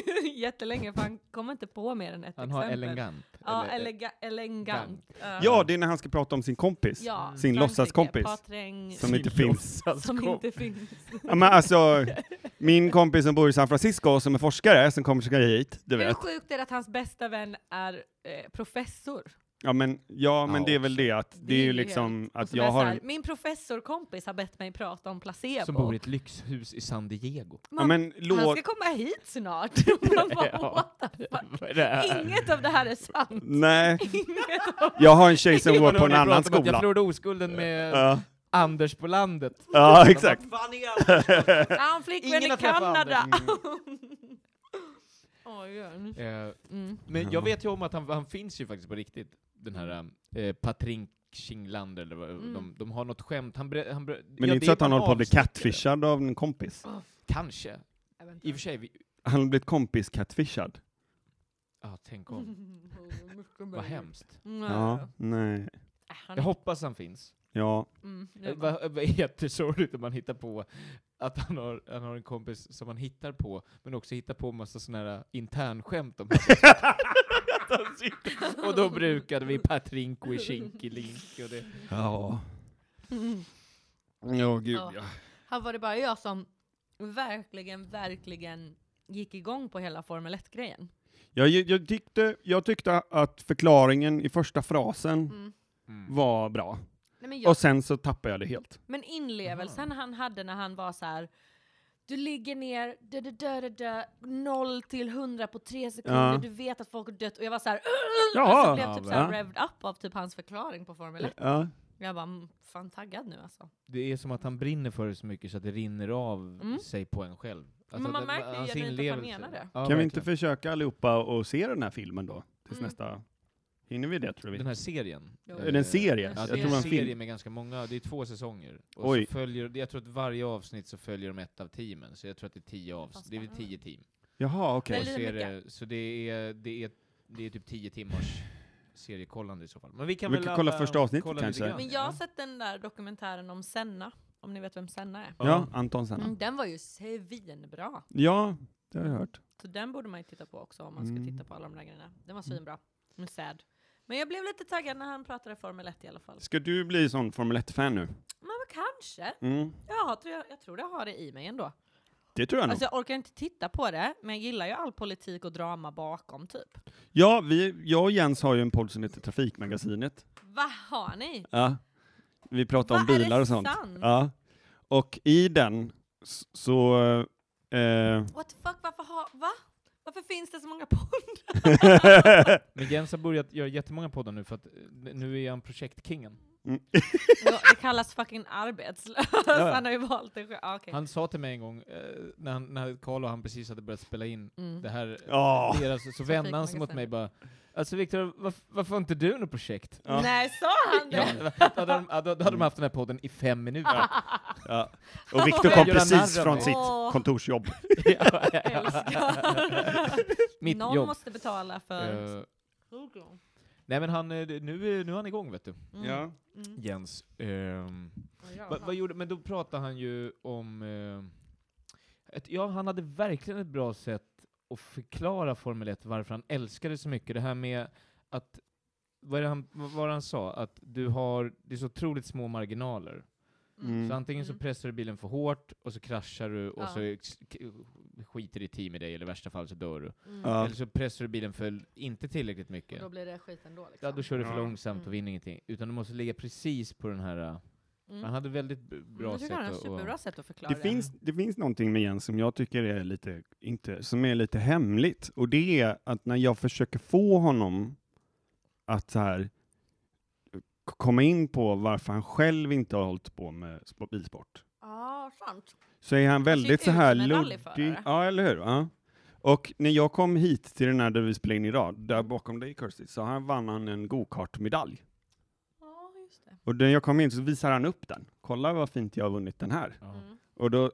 [SPEAKER 2] jättelänge för han kommer inte på mer än ett
[SPEAKER 1] han har
[SPEAKER 2] exempel.
[SPEAKER 1] elegant.
[SPEAKER 2] Ja,
[SPEAKER 1] eller- eh,
[SPEAKER 2] elega- elegant. Ja,
[SPEAKER 3] Ja, det är när han ska prata om sin kompis.
[SPEAKER 2] Ja,
[SPEAKER 3] sin
[SPEAKER 2] Frankrike,
[SPEAKER 3] låtsaskompis.
[SPEAKER 2] Paträng,
[SPEAKER 3] Som inte finns.
[SPEAKER 2] som inte finns.
[SPEAKER 3] Ja, men alltså, min kompis som bor i San Francisco som är forskare, som kommer försöka hit, du
[SPEAKER 2] Hur
[SPEAKER 3] vet.
[SPEAKER 2] sjukt är det att hans bästa vän är eh, professor?
[SPEAKER 3] Ja men, ja, men
[SPEAKER 1] Ja,
[SPEAKER 3] det är väl det att, det är ju liksom
[SPEAKER 2] helt- och
[SPEAKER 3] att
[SPEAKER 2] som är
[SPEAKER 3] jag
[SPEAKER 2] så
[SPEAKER 3] har...
[SPEAKER 2] här, Min professorkompis har bett mig prata om placebo.
[SPEAKER 1] Som bor i ett lyxhus i San Diego.
[SPEAKER 3] Ja men
[SPEAKER 2] Han
[SPEAKER 3] låt...
[SPEAKER 2] ska komma hit snart. Man bara,
[SPEAKER 1] Ja.
[SPEAKER 2] what the fuck?
[SPEAKER 1] Vad är det här?
[SPEAKER 2] Inget av det här är sant.
[SPEAKER 3] Nej,
[SPEAKER 2] Inget av...
[SPEAKER 3] jag har en tjej som går
[SPEAKER 1] Vadå,
[SPEAKER 3] på en
[SPEAKER 1] ni pratar om
[SPEAKER 3] annan
[SPEAKER 1] att Jag
[SPEAKER 3] skola.
[SPEAKER 1] förlorade oskulden med
[SPEAKER 3] Ja,
[SPEAKER 1] Anders på landet.
[SPEAKER 3] ja exakt.
[SPEAKER 1] Vad fan är Anders?
[SPEAKER 2] Han har flickvän i
[SPEAKER 1] Ingen har träffat
[SPEAKER 2] Kanada.
[SPEAKER 1] Anders. Mm.
[SPEAKER 2] Oj, Jörn.
[SPEAKER 1] Eh,
[SPEAKER 2] Mm.
[SPEAKER 1] Men
[SPEAKER 3] Ja.
[SPEAKER 1] jag vet ju om att han, han finns ju faktiskt på riktigt, den här eh, Patrink Kinglander, eller vad,
[SPEAKER 2] Mm.
[SPEAKER 1] de, de har något skämt. Han bre, han bre,
[SPEAKER 3] Men det är inte så att han håller på att bli
[SPEAKER 1] catfish
[SPEAKER 3] catfishad av en kompis.
[SPEAKER 1] Kanske.
[SPEAKER 2] Jag vet inte.
[SPEAKER 1] I och för sig, vi,
[SPEAKER 3] Han har blivit kompis-catfishad.
[SPEAKER 1] ah, tänk om. Vad hemskt.
[SPEAKER 2] Mm,
[SPEAKER 3] Ja, nej.
[SPEAKER 2] Äh, han
[SPEAKER 1] Jag hoppas han finns.
[SPEAKER 3] Ja,
[SPEAKER 2] Mm, nu
[SPEAKER 1] Eh,
[SPEAKER 2] bara-
[SPEAKER 1] Vad vad jättesorgligt om man hittar på att han har, han har en kompis som han hittar på, men också hittar på massa sådana här eh, internskämt om Och då brukade vi Patrink och Link och det.
[SPEAKER 3] ja.
[SPEAKER 2] Mm.
[SPEAKER 3] Ja, gud
[SPEAKER 2] Ja.
[SPEAKER 3] ja.
[SPEAKER 2] Här var det bara jag som verkligen, verkligen gick igång på hela Formel 1-grejen.
[SPEAKER 3] Jag, jag, tyckte, jag tyckte att förklaringen i första frasen
[SPEAKER 2] Mm.
[SPEAKER 1] Mm.
[SPEAKER 3] var bra.
[SPEAKER 2] Nej, men, jag,
[SPEAKER 3] Och sen så tappade jag det helt.
[SPEAKER 2] men inlevelsen han hade när han var så här. Du ligger ner, dö, dö, dö, dö, dö, 0 till 100 på 3 sekunder,
[SPEAKER 3] Ja.
[SPEAKER 2] du vet att folk har dött. Och jag var så här,
[SPEAKER 3] Jaha.
[SPEAKER 2] alltså, blev typ så här
[SPEAKER 3] Ja.
[SPEAKER 2] revved up av typ hans förklaring på Formel 1.
[SPEAKER 3] Ja.
[SPEAKER 2] Jag bara, mm, fan taggad nu alltså.
[SPEAKER 1] Det är som att han brinner för det så mycket så att det rinner av
[SPEAKER 2] Mm.
[SPEAKER 1] sig på en själv. Alltså
[SPEAKER 2] Men man
[SPEAKER 1] det-
[SPEAKER 2] märker ju
[SPEAKER 1] hans
[SPEAKER 2] genuint att han
[SPEAKER 1] inlevelse.
[SPEAKER 2] menar det.
[SPEAKER 1] Ja,
[SPEAKER 3] Kan vi
[SPEAKER 1] verkligen.
[SPEAKER 3] inte försöka allihopa och se den här filmen då? Tills
[SPEAKER 2] Mm.
[SPEAKER 3] nästa... Hinner vi det tror vi?
[SPEAKER 1] Den här serien.
[SPEAKER 2] Jo.
[SPEAKER 1] eh,
[SPEAKER 3] Är det en serie?
[SPEAKER 2] Jag
[SPEAKER 1] Ja,
[SPEAKER 3] Jag
[SPEAKER 1] det
[SPEAKER 3] tror det
[SPEAKER 1] är
[SPEAKER 3] var
[SPEAKER 1] en
[SPEAKER 3] en
[SPEAKER 1] serie
[SPEAKER 3] film.
[SPEAKER 1] med ganska många, det är två säsonger. Och
[SPEAKER 3] Oj.
[SPEAKER 1] Så följer, jag tror att varje avsnitt så följer de ett av teamen, så jag tror att det är tio
[SPEAKER 2] Fast
[SPEAKER 1] avsnitt, det är väl
[SPEAKER 2] det-
[SPEAKER 1] tio team.
[SPEAKER 3] Jaha, okej.
[SPEAKER 1] Och
[SPEAKER 2] Väldigt
[SPEAKER 1] så, är det, så det, är, det, är, det är typ tio timmars seriekollande i så fall. Men vi kan
[SPEAKER 3] Vi
[SPEAKER 1] väl
[SPEAKER 3] kan kolla
[SPEAKER 1] alla
[SPEAKER 3] första avsnittet
[SPEAKER 1] kolla lite
[SPEAKER 3] kanske.
[SPEAKER 1] grann,
[SPEAKER 2] Men jag har
[SPEAKER 1] ja.
[SPEAKER 2] sett den där dokumentären om Senna, om ni vet vem Senna är.
[SPEAKER 3] Ja, Anton Senna.
[SPEAKER 2] Mm, den var ju svinbra.
[SPEAKER 3] Ja, det har jag hört.
[SPEAKER 2] Så den borde man ju titta på också om man ska
[SPEAKER 3] Mm.
[SPEAKER 2] titta på alla de där grejerna. Den var svinbra. Men sad. Men jag blev lite taggad när han pratade Formel 1 i alla fall.
[SPEAKER 3] Ska du bli sån Formel 1-fan nu?
[SPEAKER 2] Men vad kanske.
[SPEAKER 3] Mm.
[SPEAKER 2] Ja, tror jag, jag tror jag har det i mig ändå.
[SPEAKER 3] Det tror jag nog.
[SPEAKER 2] Alltså jag orkar inte titta på det, men jag gillar ju all politik och drama bakom typ.
[SPEAKER 3] Ja, vi, jag och Jens har ju en podd som heter Trafikmagasinet.
[SPEAKER 2] Vad har ni?
[SPEAKER 3] Ja. Vi pratar om
[SPEAKER 2] Vad är
[SPEAKER 3] bilar
[SPEAKER 2] det
[SPEAKER 3] och sånt.
[SPEAKER 2] sant?
[SPEAKER 3] Ja. Och i den s- så... Eh,
[SPEAKER 2] What the fuck, varför har, va? Varför finns det så många poddar?
[SPEAKER 1] Men Jens har börjat göra jättemånga poddar nu för att eh, nu är han projektkingen.
[SPEAKER 2] Ja, det kallas fucking arbetslös.
[SPEAKER 3] ja.
[SPEAKER 2] Han har ju valt det själv. Ah, okej.
[SPEAKER 1] Han sa till mig en gång, eh, när, han- när Carl och han precis hade börjat spela in
[SPEAKER 2] Mm.
[SPEAKER 1] det här,
[SPEAKER 3] Ja.
[SPEAKER 1] deras, så vände han sig mot mig bara Alltså Viktor, varför, varför har inte du något projekt?
[SPEAKER 3] ja.
[SPEAKER 2] Nej, sa han
[SPEAKER 1] Ja,
[SPEAKER 2] det?
[SPEAKER 1] då, hade de, ja, då då hade de haft den här podden i fem minuter.
[SPEAKER 3] ja. Och Viktor kom
[SPEAKER 1] Gör han
[SPEAKER 3] precis
[SPEAKER 1] narr av
[SPEAKER 3] från
[SPEAKER 1] mig?
[SPEAKER 3] sitt
[SPEAKER 2] Åh. Mm.
[SPEAKER 3] kontorsjobb.
[SPEAKER 1] Ja, ja, ja.
[SPEAKER 2] Älskar.
[SPEAKER 1] Mitt
[SPEAKER 2] Någon
[SPEAKER 1] jobb.
[SPEAKER 2] måste betala för...
[SPEAKER 1] Eh, nej men han, eh, nu, är- nu är han igång vet du,
[SPEAKER 2] Mm. Mm.
[SPEAKER 1] Jens. Ehm, Va, vad gjorde, men då pratade han ju om... eh, ett, ja, han hade verkligen ett bra sätt att förklara Formel 1 varför han älskade det så mycket. Det här med att... Vad är det han, vad var det han sa? Att du har... Det är så otroligt små marginaler.
[SPEAKER 3] Mm.
[SPEAKER 1] Så antingen så
[SPEAKER 2] Mm.
[SPEAKER 1] pressar du bilen för hårt, och så kraschar du, och
[SPEAKER 2] Ja.
[SPEAKER 1] så ex- k- skiter ditt team i dig, eller i värsta fall så dör du.
[SPEAKER 2] Mm.
[SPEAKER 3] Ja.
[SPEAKER 1] Eller så pressar du bilen för inte tillräckligt
[SPEAKER 2] Och
[SPEAKER 1] mycket.
[SPEAKER 2] då blir det skit ändå liksom.
[SPEAKER 1] Ja, då kör du för
[SPEAKER 3] Ja.
[SPEAKER 1] långsamt och
[SPEAKER 2] Mm.
[SPEAKER 1] vinner ingenting. Utan du måste ligga precis på den här... eh,
[SPEAKER 2] Mm.
[SPEAKER 1] Han hade väldigt b-
[SPEAKER 2] Mm,
[SPEAKER 1] bra
[SPEAKER 2] jag
[SPEAKER 1] sätt
[SPEAKER 2] tycker han har
[SPEAKER 1] att-
[SPEAKER 2] ett superbra sätt att förklara
[SPEAKER 3] Det finns, det finns någonting med Jens som jag tycker är lite, inte, som är lite hemligt och det är att när jag försöker få honom att så här, k- komma in på varför han själv inte har hållit på med sp- bilsport
[SPEAKER 2] Ja, sant.
[SPEAKER 3] så är han väldigt
[SPEAKER 2] ser
[SPEAKER 3] så
[SPEAKER 2] ut
[SPEAKER 3] här
[SPEAKER 2] som en
[SPEAKER 3] luddig.
[SPEAKER 2] rallyförare.
[SPEAKER 3] Ja, eller hur? Ja. Och när jag kom hit till den här där vi spelade in idag, där bakom dig Kirsty, så här vann han en gokartmedalj.
[SPEAKER 2] Ja, just det.
[SPEAKER 3] Och när jag kom in så visar han upp den. Kolla vad fint jag har vunnit den här.
[SPEAKER 1] Ja.
[SPEAKER 2] Mm.
[SPEAKER 3] Och då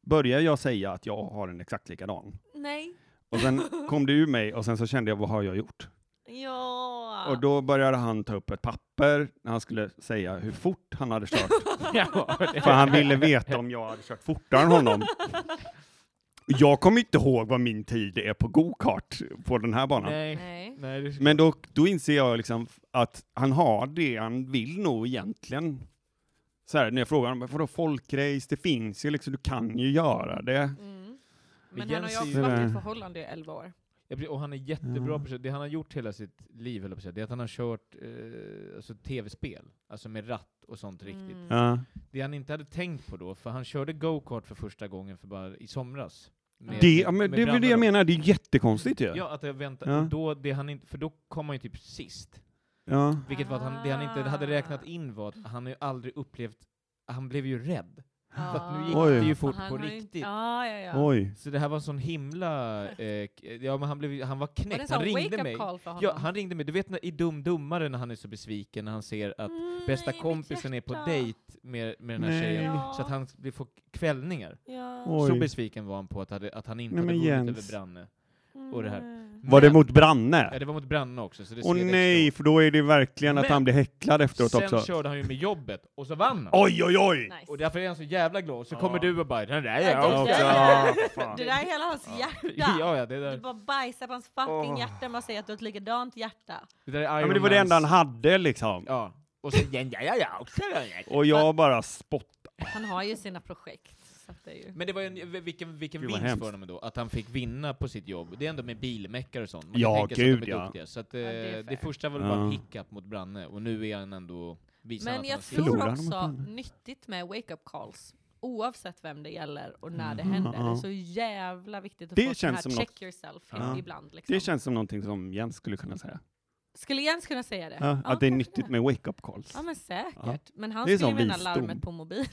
[SPEAKER 3] började jag säga att jag har en exakt likadan.
[SPEAKER 2] Nej.
[SPEAKER 3] Och sen kom det ur mig och sen så kände jag, vad har jag gjort?
[SPEAKER 2] Ja.
[SPEAKER 3] Och då började han ta upp ett papper när han skulle säga hur fort han hade kört.
[SPEAKER 1] Ja,
[SPEAKER 3] För han ville veta om jag hade kört fortare än honom. Jag kommer inte ihåg vad min tid är på go-kart på den här banan.
[SPEAKER 1] Nej.
[SPEAKER 2] Nej.
[SPEAKER 1] Nej, det är så-
[SPEAKER 3] Men då, då inser jag liksom att han har det han vill nog egentligen. Så här, när jag frågar honom, vadå folkrace, det finns ju liksom, du kan ju göra det.
[SPEAKER 2] Mm.
[SPEAKER 1] Men
[SPEAKER 2] Men han har
[SPEAKER 1] Jens är
[SPEAKER 2] ju
[SPEAKER 1] ju-
[SPEAKER 2] också varit i
[SPEAKER 3] Sådär.
[SPEAKER 2] ett förhållande i 11 år.
[SPEAKER 1] Ja, precis. och han är jättebra
[SPEAKER 3] Ja.
[SPEAKER 1] på det han har gjort hela sitt liv, höll jag på att säga, det är att han har kört eh, alltså, tv-spel, alltså med ratt och sånt riktigt.
[SPEAKER 2] Mm.
[SPEAKER 3] Ja.
[SPEAKER 1] Det han inte hade tänkt på då, för han körde go-kart för första gången för bara i somras. Med-
[SPEAKER 3] Det, ja,
[SPEAKER 1] med
[SPEAKER 3] men det är väl det
[SPEAKER 1] brallorna.
[SPEAKER 3] jag menar, det är jättekonstigt ju.
[SPEAKER 1] Ja, att jag väntar,
[SPEAKER 3] Ja.
[SPEAKER 1] och då, det han inte, för då kom han ju typ sist.
[SPEAKER 3] Ja.
[SPEAKER 1] Vilket var att han, det han inte hade räknat
[SPEAKER 2] Ah.
[SPEAKER 1] in var att han har ju aldrig upplevt, han blev ju rädd.
[SPEAKER 2] Ja.
[SPEAKER 1] För att nu gick
[SPEAKER 3] Oj.
[SPEAKER 1] det ju
[SPEAKER 2] Ja,
[SPEAKER 1] fort
[SPEAKER 2] han
[SPEAKER 1] på
[SPEAKER 2] har ju-
[SPEAKER 1] riktigt.
[SPEAKER 2] Ja, ja, ja.
[SPEAKER 3] Oj.
[SPEAKER 1] Så det här var en sån himla... Eh, k- ja, men han, blev, han var
[SPEAKER 2] Var det en
[SPEAKER 1] knäckt.
[SPEAKER 2] sån
[SPEAKER 1] Han ringde
[SPEAKER 2] wake-up
[SPEAKER 1] mig.
[SPEAKER 2] call för honom?
[SPEAKER 1] Ja, han ringde mig. Du vet när, i Dum Dummare när han är så besviken när han ser att
[SPEAKER 2] Mm,
[SPEAKER 1] bästa
[SPEAKER 2] i mitt
[SPEAKER 1] kompisen är på
[SPEAKER 2] hjärta.
[SPEAKER 1] dejt med, med den här
[SPEAKER 3] Nej.
[SPEAKER 1] tjejen,
[SPEAKER 2] Ja.
[SPEAKER 1] så att han blir- får kvällningar.
[SPEAKER 2] Ja.
[SPEAKER 3] Oj.
[SPEAKER 1] Så besviken var han på att, hade, att han inte
[SPEAKER 3] Nej,
[SPEAKER 1] hade
[SPEAKER 3] men
[SPEAKER 1] vunnit
[SPEAKER 3] Jens.
[SPEAKER 1] över Branne. och det här.
[SPEAKER 2] Mm.
[SPEAKER 3] Var det
[SPEAKER 1] Men-
[SPEAKER 3] mot
[SPEAKER 1] Ja,
[SPEAKER 3] Branne?
[SPEAKER 1] det var mot Branne också. Så det
[SPEAKER 3] Åh
[SPEAKER 1] sved
[SPEAKER 3] nej,
[SPEAKER 1] extra
[SPEAKER 3] för då är det verkligen att
[SPEAKER 1] Men-
[SPEAKER 3] han blir häcklad
[SPEAKER 1] hårt.
[SPEAKER 3] efteråt
[SPEAKER 1] Sen
[SPEAKER 3] också.
[SPEAKER 1] körde han ju med jobbet, och så vann han!
[SPEAKER 3] Oj, oj, oj!
[SPEAKER 2] Nice.
[SPEAKER 1] Och därför är han så jävla glad, så
[SPEAKER 3] Ja.
[SPEAKER 1] kommer du och bara ”den där är
[SPEAKER 2] Ja,
[SPEAKER 1] jag
[SPEAKER 2] det-
[SPEAKER 1] också”.
[SPEAKER 3] Ja,
[SPEAKER 2] Det
[SPEAKER 3] fan.
[SPEAKER 2] där är hela hans hjärta!
[SPEAKER 1] Ja, ja, det
[SPEAKER 2] Du
[SPEAKER 1] där,
[SPEAKER 2] bara bajsar på hans fucking
[SPEAKER 3] Åh.
[SPEAKER 2] hjärta man säger att du har ett likadant hjärta.
[SPEAKER 1] det där är
[SPEAKER 3] ja,
[SPEAKER 1] Iron
[SPEAKER 3] men det var det
[SPEAKER 1] Mans-
[SPEAKER 3] enda han hade liksom.
[SPEAKER 1] Ja. Och sen ”den där är jag också”.
[SPEAKER 3] Och jag bara spott.
[SPEAKER 2] Han har ju sina projekt. Så att det är ju...
[SPEAKER 1] Men det var ju en, vilken, vilken
[SPEAKER 3] Gud, vad
[SPEAKER 1] vinst
[SPEAKER 3] hemskt.
[SPEAKER 1] för honom då, att han fick vinna på sitt jobb. Det är ändå med bilmäckare och sånt. Man
[SPEAKER 3] Ja,
[SPEAKER 1] kan tänka sig att de
[SPEAKER 3] gud,
[SPEAKER 1] är
[SPEAKER 3] ja.
[SPEAKER 1] duktiga. Så att, eh,
[SPEAKER 2] Ja, det är
[SPEAKER 1] det,
[SPEAKER 2] fair.
[SPEAKER 1] första var väl bara en
[SPEAKER 3] Ja.
[SPEAKER 1] hickup mot Branne, och nu är han ändå... Visar han
[SPEAKER 2] Men
[SPEAKER 1] att
[SPEAKER 2] jag
[SPEAKER 1] han sitter.
[SPEAKER 3] Förlorar
[SPEAKER 2] tror
[SPEAKER 3] de mot
[SPEAKER 2] också
[SPEAKER 3] varandra?
[SPEAKER 2] nyttigt med wake-up calls, oavsett vem det gäller och när det
[SPEAKER 3] Mm.
[SPEAKER 2] händer,
[SPEAKER 3] Ja.
[SPEAKER 2] det är så jävla viktigt att
[SPEAKER 3] Det
[SPEAKER 2] få
[SPEAKER 3] känns
[SPEAKER 2] sån här
[SPEAKER 3] som
[SPEAKER 2] check
[SPEAKER 3] något-
[SPEAKER 2] yourself
[SPEAKER 3] Ja.
[SPEAKER 2] ibland. Liksom.
[SPEAKER 3] Det känns som någonting som Jens skulle kunna säga.
[SPEAKER 2] Skulle Jens kunna säga det?
[SPEAKER 3] Ja,
[SPEAKER 2] Ja,
[SPEAKER 3] att det är
[SPEAKER 2] kanske
[SPEAKER 3] nyttigt med wake-up calls.
[SPEAKER 2] Ja men säkert.
[SPEAKER 3] Ja.
[SPEAKER 2] Men han
[SPEAKER 3] Det är
[SPEAKER 2] skulle
[SPEAKER 3] sån
[SPEAKER 2] ju vinna
[SPEAKER 3] visdom.
[SPEAKER 2] larmet på mobil.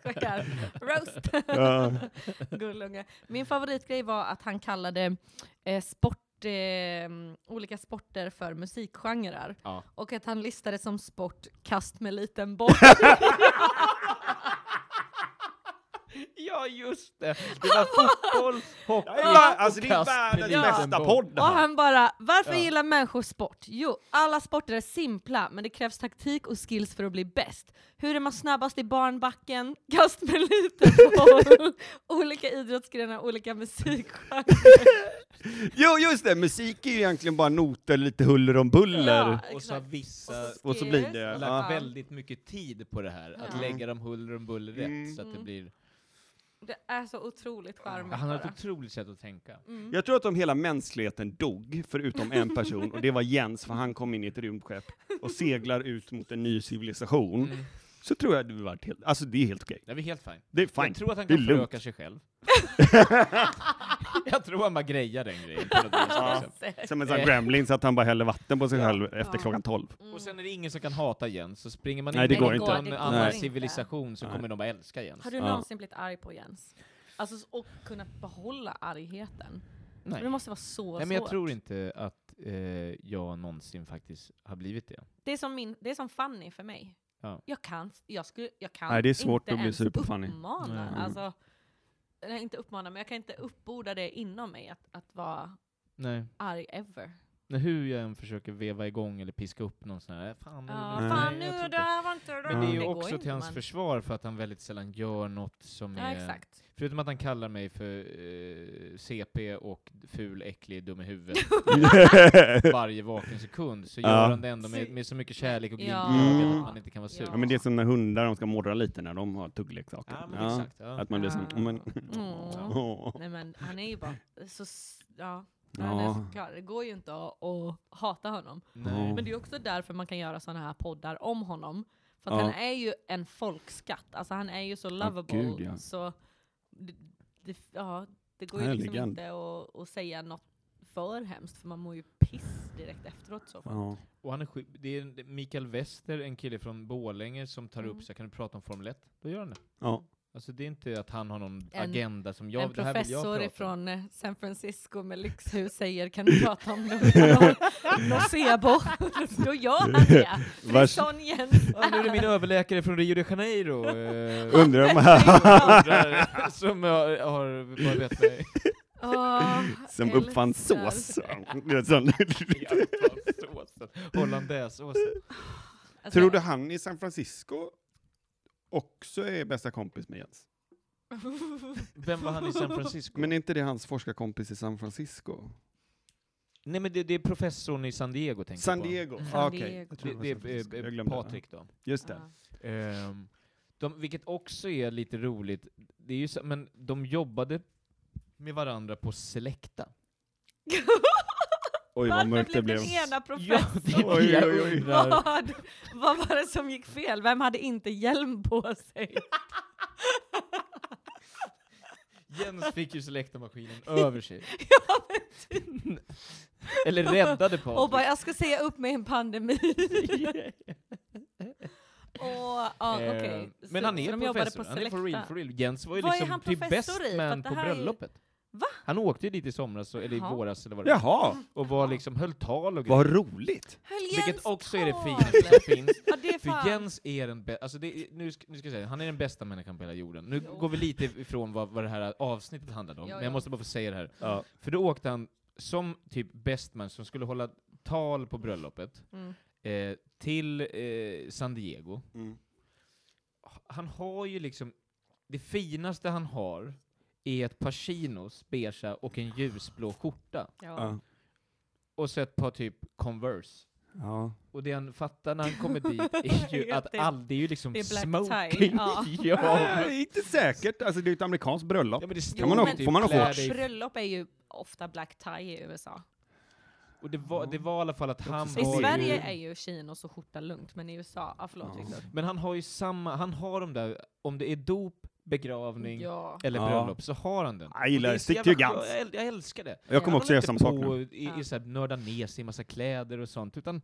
[SPEAKER 2] Skojar. Roast.
[SPEAKER 3] Ja.
[SPEAKER 2] Gullunge. Min favoritgrej var att han kallade eh, sport, eh, olika sporter för musikgenrer.
[SPEAKER 1] Ja.
[SPEAKER 2] Och att han listade som sport kast med liten boll.
[SPEAKER 1] ja, just det! Det var fotboll, hockey
[SPEAKER 3] Det är va-
[SPEAKER 1] och
[SPEAKER 3] alltså det är
[SPEAKER 1] kast med
[SPEAKER 3] världens
[SPEAKER 1] liten
[SPEAKER 3] bästa
[SPEAKER 1] boll.
[SPEAKER 3] podd det
[SPEAKER 2] Och
[SPEAKER 3] här.
[SPEAKER 2] han bara, varför
[SPEAKER 1] Ja.
[SPEAKER 2] gillar människor sport? Jo, alla sporter är simpla, men det krävs taktik och skills för att bli bäst. Hur är man snabbast i barnbacken? Kast med liten boll. olika idrottsgrenar, olika musikgenrer.
[SPEAKER 3] Jo, just det! Musik är ju egentligen bara noter, lite huller om buller.
[SPEAKER 2] Ja.
[SPEAKER 1] Och så har vissa
[SPEAKER 3] Och så blir
[SPEAKER 2] Skills.
[SPEAKER 3] det-
[SPEAKER 1] lagt
[SPEAKER 3] Ja.
[SPEAKER 1] väldigt mycket tid på det här, att
[SPEAKER 2] Ja.
[SPEAKER 1] lägga dem huller om buller rätt
[SPEAKER 3] Mm.
[SPEAKER 1] så att det
[SPEAKER 2] Mm.
[SPEAKER 1] blir...
[SPEAKER 2] Det är så otroligt charmigt.
[SPEAKER 1] Han har typ- ett
[SPEAKER 2] bara.
[SPEAKER 1] otroligt sätt att tänka.
[SPEAKER 2] Mm.
[SPEAKER 3] Jag tror att om hela mänskligheten dog, förutom en person, och det var Jens, för han kom in i ett rymdskepp och seglar ut mot en ny civilisation,
[SPEAKER 1] Mm.
[SPEAKER 3] så tror jag det hade varit helt, alltså det är helt okej.
[SPEAKER 1] Det är väl helt fine.
[SPEAKER 3] Det är fine.
[SPEAKER 1] Jag tror att han
[SPEAKER 3] Det är
[SPEAKER 1] kan
[SPEAKER 3] lugnt.
[SPEAKER 1] föröka sig själv. jag tror han bara grejar den grejen. på något vis, liksom.
[SPEAKER 3] Som en sån här gremlin, så att han bara häller vatten på sig själv efter
[SPEAKER 2] Ja.
[SPEAKER 3] klockan tolv.
[SPEAKER 1] Mm. Och sen är det ingen som kan hata Jens, så springer man
[SPEAKER 3] Nej,
[SPEAKER 1] in
[SPEAKER 3] det
[SPEAKER 1] i
[SPEAKER 3] går
[SPEAKER 1] en
[SPEAKER 3] inte.
[SPEAKER 2] Det går
[SPEAKER 1] annan
[SPEAKER 3] inte.
[SPEAKER 1] civilisation så
[SPEAKER 3] Nej.
[SPEAKER 1] kommer de bara älska Jens.
[SPEAKER 2] Har du
[SPEAKER 3] Ja.
[SPEAKER 2] någonsin blivit arg på Jens? Alltså, s- och kunnat behålla argheten?
[SPEAKER 1] Nej.
[SPEAKER 2] Det måste vara så
[SPEAKER 1] Nej, men jag
[SPEAKER 2] svårt.
[SPEAKER 1] tror inte att eh, jag någonsin faktiskt har blivit det.
[SPEAKER 2] Det är som, min, det är som Fanny för mig.
[SPEAKER 1] Ja.
[SPEAKER 2] Jag kan, jag skulle, jag kan
[SPEAKER 3] Nej, det är svårt
[SPEAKER 2] inte
[SPEAKER 3] att bli
[SPEAKER 2] ens
[SPEAKER 3] sur på Fanny.
[SPEAKER 2] uppmana.
[SPEAKER 1] Nej.
[SPEAKER 2] Alltså, nej, inte uppmana, men jag kan inte uppborda det inom mig att, att vara
[SPEAKER 1] Nej.
[SPEAKER 2] arg ever.
[SPEAKER 1] när hur jag än försöker veva igång eller piska upp någon sån här, fan, nu-
[SPEAKER 2] Ja,
[SPEAKER 1] nej,
[SPEAKER 2] fan
[SPEAKER 1] jag tror
[SPEAKER 2] nu
[SPEAKER 1] inte.
[SPEAKER 2] då, jag var inte
[SPEAKER 1] Men det är ju
[SPEAKER 2] Det går
[SPEAKER 1] också
[SPEAKER 2] inte,
[SPEAKER 1] till hans
[SPEAKER 2] man.
[SPEAKER 1] försvar för att han väldigt sällan gör något som
[SPEAKER 2] Ja,
[SPEAKER 1] är...
[SPEAKER 2] exakt.
[SPEAKER 1] Förutom att han kallar mig för eh, CP och ful, äcklig, dum i huvudet varje vaken sekund, så
[SPEAKER 3] Ja.
[SPEAKER 1] gör han det ändå
[SPEAKER 2] Så-
[SPEAKER 1] med, med så mycket kärlek och glimt
[SPEAKER 2] Ja.
[SPEAKER 1] i ögat
[SPEAKER 3] Mm.
[SPEAKER 1] att man inte kan vara sur.
[SPEAKER 2] Ja.
[SPEAKER 3] Ja, men det är som när hundar de ska morra lite när de har tuggleksaker.
[SPEAKER 1] Ja, men exakt. Ja.
[SPEAKER 3] Att man blir
[SPEAKER 2] Ja.
[SPEAKER 3] som, ja, men,
[SPEAKER 2] Mm.
[SPEAKER 3] Åh.
[SPEAKER 2] Nej men han är ju bara så, s- ja.
[SPEAKER 3] Ja.
[SPEAKER 2] Han är så klar. Det går ju inte att, att hata honom.
[SPEAKER 1] Nej.
[SPEAKER 2] Men det är också därför man kan göra sådana här poddar om honom. För att
[SPEAKER 3] Ja.
[SPEAKER 2] han är ju en folkskatt. Alltså han är ju så lovable.
[SPEAKER 3] gud, ja.
[SPEAKER 2] Så det, det, ja, det går ju
[SPEAKER 3] Han är
[SPEAKER 2] liksom
[SPEAKER 3] legend.
[SPEAKER 2] inte att, att säga något för hemskt. För man mår ju piss direkt efteråt. Så.
[SPEAKER 3] Ja.
[SPEAKER 1] Och han är sjuk. Det är en- det är Mikael Wester, en kille från Borlänge, som tar
[SPEAKER 2] Mm.
[SPEAKER 1] upp så här, kan du prata om Formel 1? Då gör han det.
[SPEAKER 3] Ja.
[SPEAKER 1] Alltså det är inte att han har någon
[SPEAKER 2] En-
[SPEAKER 1] agenda som jag,
[SPEAKER 2] en
[SPEAKER 1] det här vill jag
[SPEAKER 2] professor
[SPEAKER 1] prata om.
[SPEAKER 2] ifrån eh, San Francisco med lyxhus säger kan du prata om no- nocebo? Då gör han det. För det är
[SPEAKER 3] Vars-
[SPEAKER 2] sån Jens
[SPEAKER 1] Ja, nu är det min överläkare från Rio de Janeiro. eh,
[SPEAKER 3] Undrar om
[SPEAKER 1] undrar, som jag har bara vet mig.
[SPEAKER 2] Åh,
[SPEAKER 3] som
[SPEAKER 2] jag
[SPEAKER 3] uppfann
[SPEAKER 2] älskar.
[SPEAKER 3] sås. Det är sån-
[SPEAKER 1] Hollandaisesåsen.
[SPEAKER 2] Alltså,
[SPEAKER 3] Tror du han i San Francisco också är bästa kompis med Jens?
[SPEAKER 2] Alltså-
[SPEAKER 1] Vem var han i San Francisco?
[SPEAKER 3] Men är inte det hans forskarkompis i San Francisco?
[SPEAKER 1] Nej men det, det är professorn i San Diego tänker
[SPEAKER 3] San
[SPEAKER 1] jag på.
[SPEAKER 3] Diego.
[SPEAKER 1] Mm.
[SPEAKER 3] Ah,
[SPEAKER 2] San
[SPEAKER 3] Okej.
[SPEAKER 2] Diego.
[SPEAKER 3] Jag tror
[SPEAKER 1] Det,
[SPEAKER 3] var
[SPEAKER 1] det
[SPEAKER 3] San Francisco. Jag
[SPEAKER 1] är eh,
[SPEAKER 3] glömde det.
[SPEAKER 1] Patrik då.
[SPEAKER 3] Just det.
[SPEAKER 2] Ja.
[SPEAKER 1] Ehm, de, vilket också är lite roligt, det är ju så, men de jobbade med varandra på Selecta.
[SPEAKER 3] Oj, vad
[SPEAKER 2] Varför
[SPEAKER 3] mörkt det blev.
[SPEAKER 2] den ena
[SPEAKER 1] Ja,
[SPEAKER 2] professorn?
[SPEAKER 1] det är
[SPEAKER 3] Oj,
[SPEAKER 1] det jag
[SPEAKER 3] oj, oj.
[SPEAKER 1] undrar.
[SPEAKER 2] Vad, vad var det som gick fel? Vem hade inte hjälm på sig?
[SPEAKER 1] Jens fick ju Selecta-maskinen över sig. Eller räddade
[SPEAKER 2] typ. Och bara,
[SPEAKER 1] Patrik.
[SPEAKER 2] jag ska säga upp mig i en pandemi. Och, ja,
[SPEAKER 1] Ehm,
[SPEAKER 2] okej.
[SPEAKER 1] Men
[SPEAKER 2] Så-
[SPEAKER 1] han
[SPEAKER 2] så
[SPEAKER 1] är
[SPEAKER 2] de jobbade
[SPEAKER 1] professor, han är for
[SPEAKER 2] Selecta.
[SPEAKER 1] real, for real. Jens var ju
[SPEAKER 2] Vad är
[SPEAKER 1] liksom
[SPEAKER 2] han
[SPEAKER 1] till
[SPEAKER 2] professor
[SPEAKER 1] best
[SPEAKER 2] i? För
[SPEAKER 1] man
[SPEAKER 2] att det
[SPEAKER 1] på
[SPEAKER 2] här är-
[SPEAKER 1] bröllopet.
[SPEAKER 2] Va?
[SPEAKER 1] Han åkte ju dit i somras, och- eller i
[SPEAKER 2] Jaha.
[SPEAKER 1] våras eller vad det var,
[SPEAKER 3] Jaha,
[SPEAKER 1] och var liksom, höll tal och
[SPEAKER 3] vad roligt.
[SPEAKER 2] Höll Jens
[SPEAKER 1] Vilket också är det
[SPEAKER 2] tal?
[SPEAKER 1] finaste som finns.
[SPEAKER 2] Ja, det är fan.
[SPEAKER 1] För Jens är den bästa, alltså det, är- nu, ska, nu ska jag säga, han är den bästa människan på hela jorden. Nu
[SPEAKER 2] Jo.
[SPEAKER 1] går vi lite ifrån vad, vad det här avsnittet handlade om,
[SPEAKER 2] Ja,
[SPEAKER 1] men
[SPEAKER 2] ja.
[SPEAKER 1] jag måste bara få säga det här.
[SPEAKER 3] Ja.
[SPEAKER 1] För då åkte han som typ bestman som skulle hålla tal på bröllopet,
[SPEAKER 2] Mm.
[SPEAKER 1] eh, till eh, San Diego.
[SPEAKER 3] Mm.
[SPEAKER 1] Han har ju liksom, det finaste han har är ett par chinos, beige och en ljusblå skjorta.
[SPEAKER 2] Ja.
[SPEAKER 3] Ja.
[SPEAKER 1] Och så ett par typ Converse.
[SPEAKER 3] Ja.
[SPEAKER 1] Och det han fattar när han kommer dit är ju
[SPEAKER 2] Ja,
[SPEAKER 1] att
[SPEAKER 2] det-
[SPEAKER 1] all, det är ju liksom
[SPEAKER 2] det är black tie,
[SPEAKER 1] smoking.
[SPEAKER 2] ja.
[SPEAKER 1] ja.
[SPEAKER 3] Nej, inte säkert. Alltså, det är ett amerikanskt bröllop.
[SPEAKER 1] Ja, men det står
[SPEAKER 2] Kan man ha-
[SPEAKER 1] ju typ
[SPEAKER 3] får man ha
[SPEAKER 1] klär
[SPEAKER 3] shorts?
[SPEAKER 1] dig-
[SPEAKER 2] Bröllop är ju ofta black tie i USA.
[SPEAKER 1] Och det var, det var i alla fall att han
[SPEAKER 3] I
[SPEAKER 2] I
[SPEAKER 1] har
[SPEAKER 2] Sverige är
[SPEAKER 1] ju,
[SPEAKER 2] ju chinos och skjorta lugnt, men i USA, ah, förlåt
[SPEAKER 3] Ja.
[SPEAKER 2] Victor.
[SPEAKER 1] Men han har ju samma, han har de där, om det är dop, begravning
[SPEAKER 2] Ja.
[SPEAKER 1] eller
[SPEAKER 3] Ja. Ah,
[SPEAKER 1] bröllop så har han den.
[SPEAKER 3] Jag gillar
[SPEAKER 1] Och det är så
[SPEAKER 3] stick
[SPEAKER 1] jävla
[SPEAKER 3] to
[SPEAKER 1] skönt.
[SPEAKER 3] guns.
[SPEAKER 1] Jag, äl- jag älskar det.
[SPEAKER 3] Jag kommer
[SPEAKER 1] Han
[SPEAKER 3] också
[SPEAKER 1] håller
[SPEAKER 3] göra
[SPEAKER 1] inte
[SPEAKER 3] samma sak
[SPEAKER 1] på
[SPEAKER 3] nu.
[SPEAKER 1] i,
[SPEAKER 2] Ja.
[SPEAKER 1] i så här, nörda ner sig i massa kläder och sånt, utan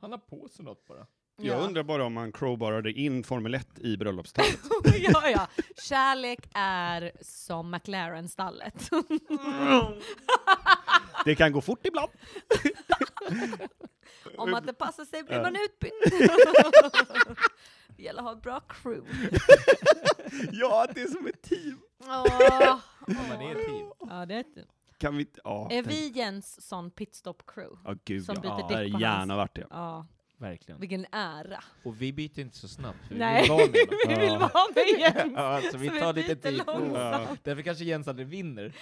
[SPEAKER 1] han har på sig något bara.
[SPEAKER 3] Jag undrar bara om man crowbarade in Formel 1 i bröllopstalet.
[SPEAKER 2] ja, ja. Kärlek är som McLaren-stallet. Mm.
[SPEAKER 3] det kan gå fort ibland.
[SPEAKER 2] Om att det passar sig blir man utbytt. det gäller att ha ett bra crew.
[SPEAKER 3] ja, det är som ett team.
[SPEAKER 2] Åh,
[SPEAKER 1] Ja, men det är ett team.
[SPEAKER 2] Ja, det är ett-
[SPEAKER 3] Kan vi inte... Ja.
[SPEAKER 2] Är vi Jens sån pitstop-crew?
[SPEAKER 3] Ja, gud
[SPEAKER 2] som
[SPEAKER 3] ja.
[SPEAKER 2] byter
[SPEAKER 3] ja.
[SPEAKER 2] däck
[SPEAKER 3] det
[SPEAKER 2] på
[SPEAKER 3] hade gärna varit det.
[SPEAKER 2] Ja,
[SPEAKER 1] Verkligen.
[SPEAKER 2] vilken ära.
[SPEAKER 1] Och vi byter inte så snabbt, för
[SPEAKER 2] Nej,
[SPEAKER 1] vi vill vara med dem.
[SPEAKER 2] vi vill vara med Jens.
[SPEAKER 1] Ja, alltså, vi
[SPEAKER 2] Så vi
[SPEAKER 1] tar lite
[SPEAKER 2] byter
[SPEAKER 1] tid.
[SPEAKER 2] långsamt.
[SPEAKER 1] Ja. Därför kanske Jens aldrig vinner.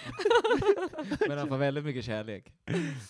[SPEAKER 1] Men han får väldigt mycket kärlek.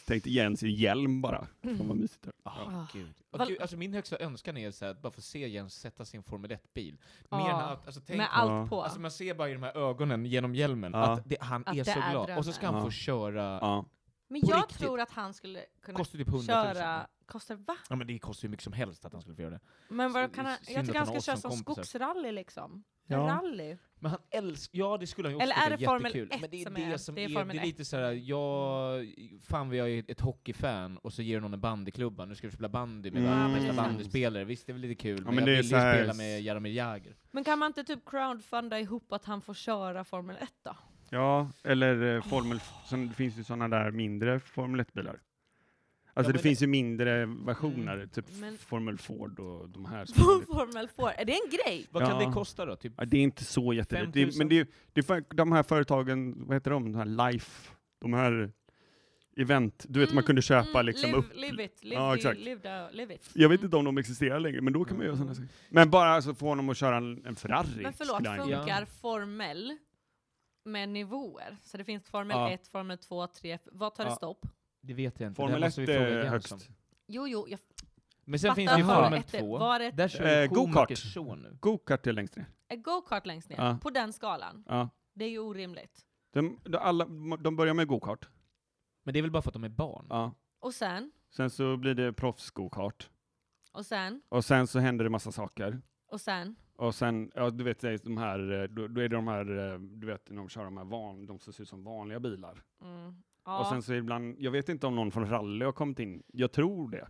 [SPEAKER 3] Tänkte Jens i hjälm bara.
[SPEAKER 2] Mm.
[SPEAKER 3] Fan vad mysigt. det är.
[SPEAKER 2] Ah.
[SPEAKER 1] gud.
[SPEAKER 2] Val-
[SPEAKER 1] gud. Alltså, min högsta önskan är så här, att bara få se Jens sätta sin Formel 1-bil.
[SPEAKER 2] Ja.
[SPEAKER 1] Mer än allt, alltså, tänk,
[SPEAKER 2] Med
[SPEAKER 3] Ja.
[SPEAKER 2] allt på.
[SPEAKER 1] alltså, man ser bara i de här ögonen genom hjälmen
[SPEAKER 3] Ja.
[SPEAKER 1] att det, han
[SPEAKER 2] Att
[SPEAKER 1] är
[SPEAKER 2] det
[SPEAKER 1] så
[SPEAKER 2] är
[SPEAKER 1] glad.
[SPEAKER 2] drömmen.
[SPEAKER 1] Och så ska han
[SPEAKER 3] Ja.
[SPEAKER 1] få köra,
[SPEAKER 3] Ja.
[SPEAKER 2] Men
[SPEAKER 1] på
[SPEAKER 2] jag
[SPEAKER 1] riktigt.
[SPEAKER 2] tror att han skulle kunna
[SPEAKER 1] kostar typ 100 000.
[SPEAKER 2] köra... Kostar va?
[SPEAKER 1] Ja, men det kostar ju mycket som helst att han skulle få göra det.
[SPEAKER 2] Men
[SPEAKER 1] Så
[SPEAKER 2] vad
[SPEAKER 1] Alltså, det
[SPEAKER 2] kan
[SPEAKER 1] är
[SPEAKER 2] han,
[SPEAKER 1] synd
[SPEAKER 2] jag
[SPEAKER 1] att
[SPEAKER 2] tycker
[SPEAKER 1] han
[SPEAKER 2] han
[SPEAKER 1] har
[SPEAKER 2] ska
[SPEAKER 1] oss som
[SPEAKER 2] köra som
[SPEAKER 1] kompisar.
[SPEAKER 2] skogsrally liksom.
[SPEAKER 3] Ja.
[SPEAKER 2] Rally.
[SPEAKER 1] Men han älskar, ja det skulle han ju också
[SPEAKER 2] Eller
[SPEAKER 1] tycka
[SPEAKER 2] är det Formel
[SPEAKER 1] jättekul.
[SPEAKER 2] 1
[SPEAKER 1] Men det är
[SPEAKER 2] som
[SPEAKER 1] det
[SPEAKER 2] är-
[SPEAKER 1] som
[SPEAKER 2] det
[SPEAKER 1] är,
[SPEAKER 2] är
[SPEAKER 1] det
[SPEAKER 2] Formel
[SPEAKER 1] är lite såhär, jag, fan vad jag är ett hockeyfan, och så ger någon en bandyklubba, nu ska vi spela bandy med
[SPEAKER 3] Mm.
[SPEAKER 1] världens bästa
[SPEAKER 2] Mm.
[SPEAKER 1] bandyspelare, visst det är väl lite kul, men,
[SPEAKER 3] men det
[SPEAKER 1] jag
[SPEAKER 3] är
[SPEAKER 1] vill ju
[SPEAKER 3] så här-
[SPEAKER 1] spela med Jaromir Jagr.
[SPEAKER 2] Men kan man inte typ crowdfunda ihop att han får köra Formel 1 då?
[SPEAKER 3] Ja, eller eh, Formel... f- Som, det finns ju sådana där mindre Formel 1-bilar. Alltså
[SPEAKER 1] men
[SPEAKER 3] det
[SPEAKER 1] det-
[SPEAKER 3] finns ju mindre versioner, typ
[SPEAKER 2] Mm, Men-
[SPEAKER 3] Formel Ford och de här. som har lite-
[SPEAKER 2] Formel 4, är det en grej?
[SPEAKER 1] Vad kan
[SPEAKER 3] Ja.
[SPEAKER 1] det kosta då? Typ
[SPEAKER 3] Ja, det är inte så jättedyrt. Det är-
[SPEAKER 1] 5 000.
[SPEAKER 3] Men det är, ju- det är för, de här företagen, vad heter de? De här Life, de här event, du vet man
[SPEAKER 2] Mm,
[SPEAKER 3] kunde köpa
[SPEAKER 2] mm,
[SPEAKER 3] liksom
[SPEAKER 2] live,
[SPEAKER 3] upp.
[SPEAKER 2] live it, live,
[SPEAKER 3] Ja,
[SPEAKER 2] the-
[SPEAKER 3] exakt.
[SPEAKER 2] live, the- live it. Mm.
[SPEAKER 3] Jag vet inte om de existerar längre, men då kan man göra sådana saker. Men bara alltså, få honom att köra en, en Ferrari.
[SPEAKER 2] Men förlåt,
[SPEAKER 3] skulle han göra.
[SPEAKER 2] funkar formell med nivåer? Så det finns formel
[SPEAKER 3] Ja.
[SPEAKER 2] 1, formel 2, 3, vad tar det
[SPEAKER 3] Ja.
[SPEAKER 2] stopp?
[SPEAKER 1] Det vet jag inte.
[SPEAKER 3] Formel
[SPEAKER 1] det måste vi
[SPEAKER 3] 1
[SPEAKER 1] fråga liksom.
[SPEAKER 3] är
[SPEAKER 1] Jens
[SPEAKER 3] högst.
[SPEAKER 1] om.
[SPEAKER 2] Jo, jo, jag
[SPEAKER 1] Men sen
[SPEAKER 2] Fattar
[SPEAKER 1] finns det ju
[SPEAKER 3] vad
[SPEAKER 1] Formel
[SPEAKER 2] ett är.
[SPEAKER 1] 2.
[SPEAKER 2] Var ett-
[SPEAKER 1] Där kör ju
[SPEAKER 3] Eh, go-kart.
[SPEAKER 1] Schumachers son nu.
[SPEAKER 3] Gokart är längst ner.
[SPEAKER 2] är go-kart längst ner,
[SPEAKER 3] Ja.
[SPEAKER 2] på den skalan.
[SPEAKER 3] Ja.
[SPEAKER 2] Det är ju orimligt.
[SPEAKER 3] De, de, alla, de börjar med
[SPEAKER 1] Mm.
[SPEAKER 3] gokart.
[SPEAKER 1] Men det är väl bara för att de är barn?
[SPEAKER 3] Ja.
[SPEAKER 2] Och sen,
[SPEAKER 3] Sen så blir det proffsgokart.
[SPEAKER 2] och sen,
[SPEAKER 3] Och sen så händer det massa saker.
[SPEAKER 2] och sen.
[SPEAKER 3] Och sen, ja du vet, det är de här, eh, då, då är det de här, eh, du vet, när de kör de här van, de som ser ut som vanliga bilar.
[SPEAKER 2] Mm. Ja.
[SPEAKER 3] Och sen så ibland, jag vet inte om någon från rally har kommit in. Jag tror det.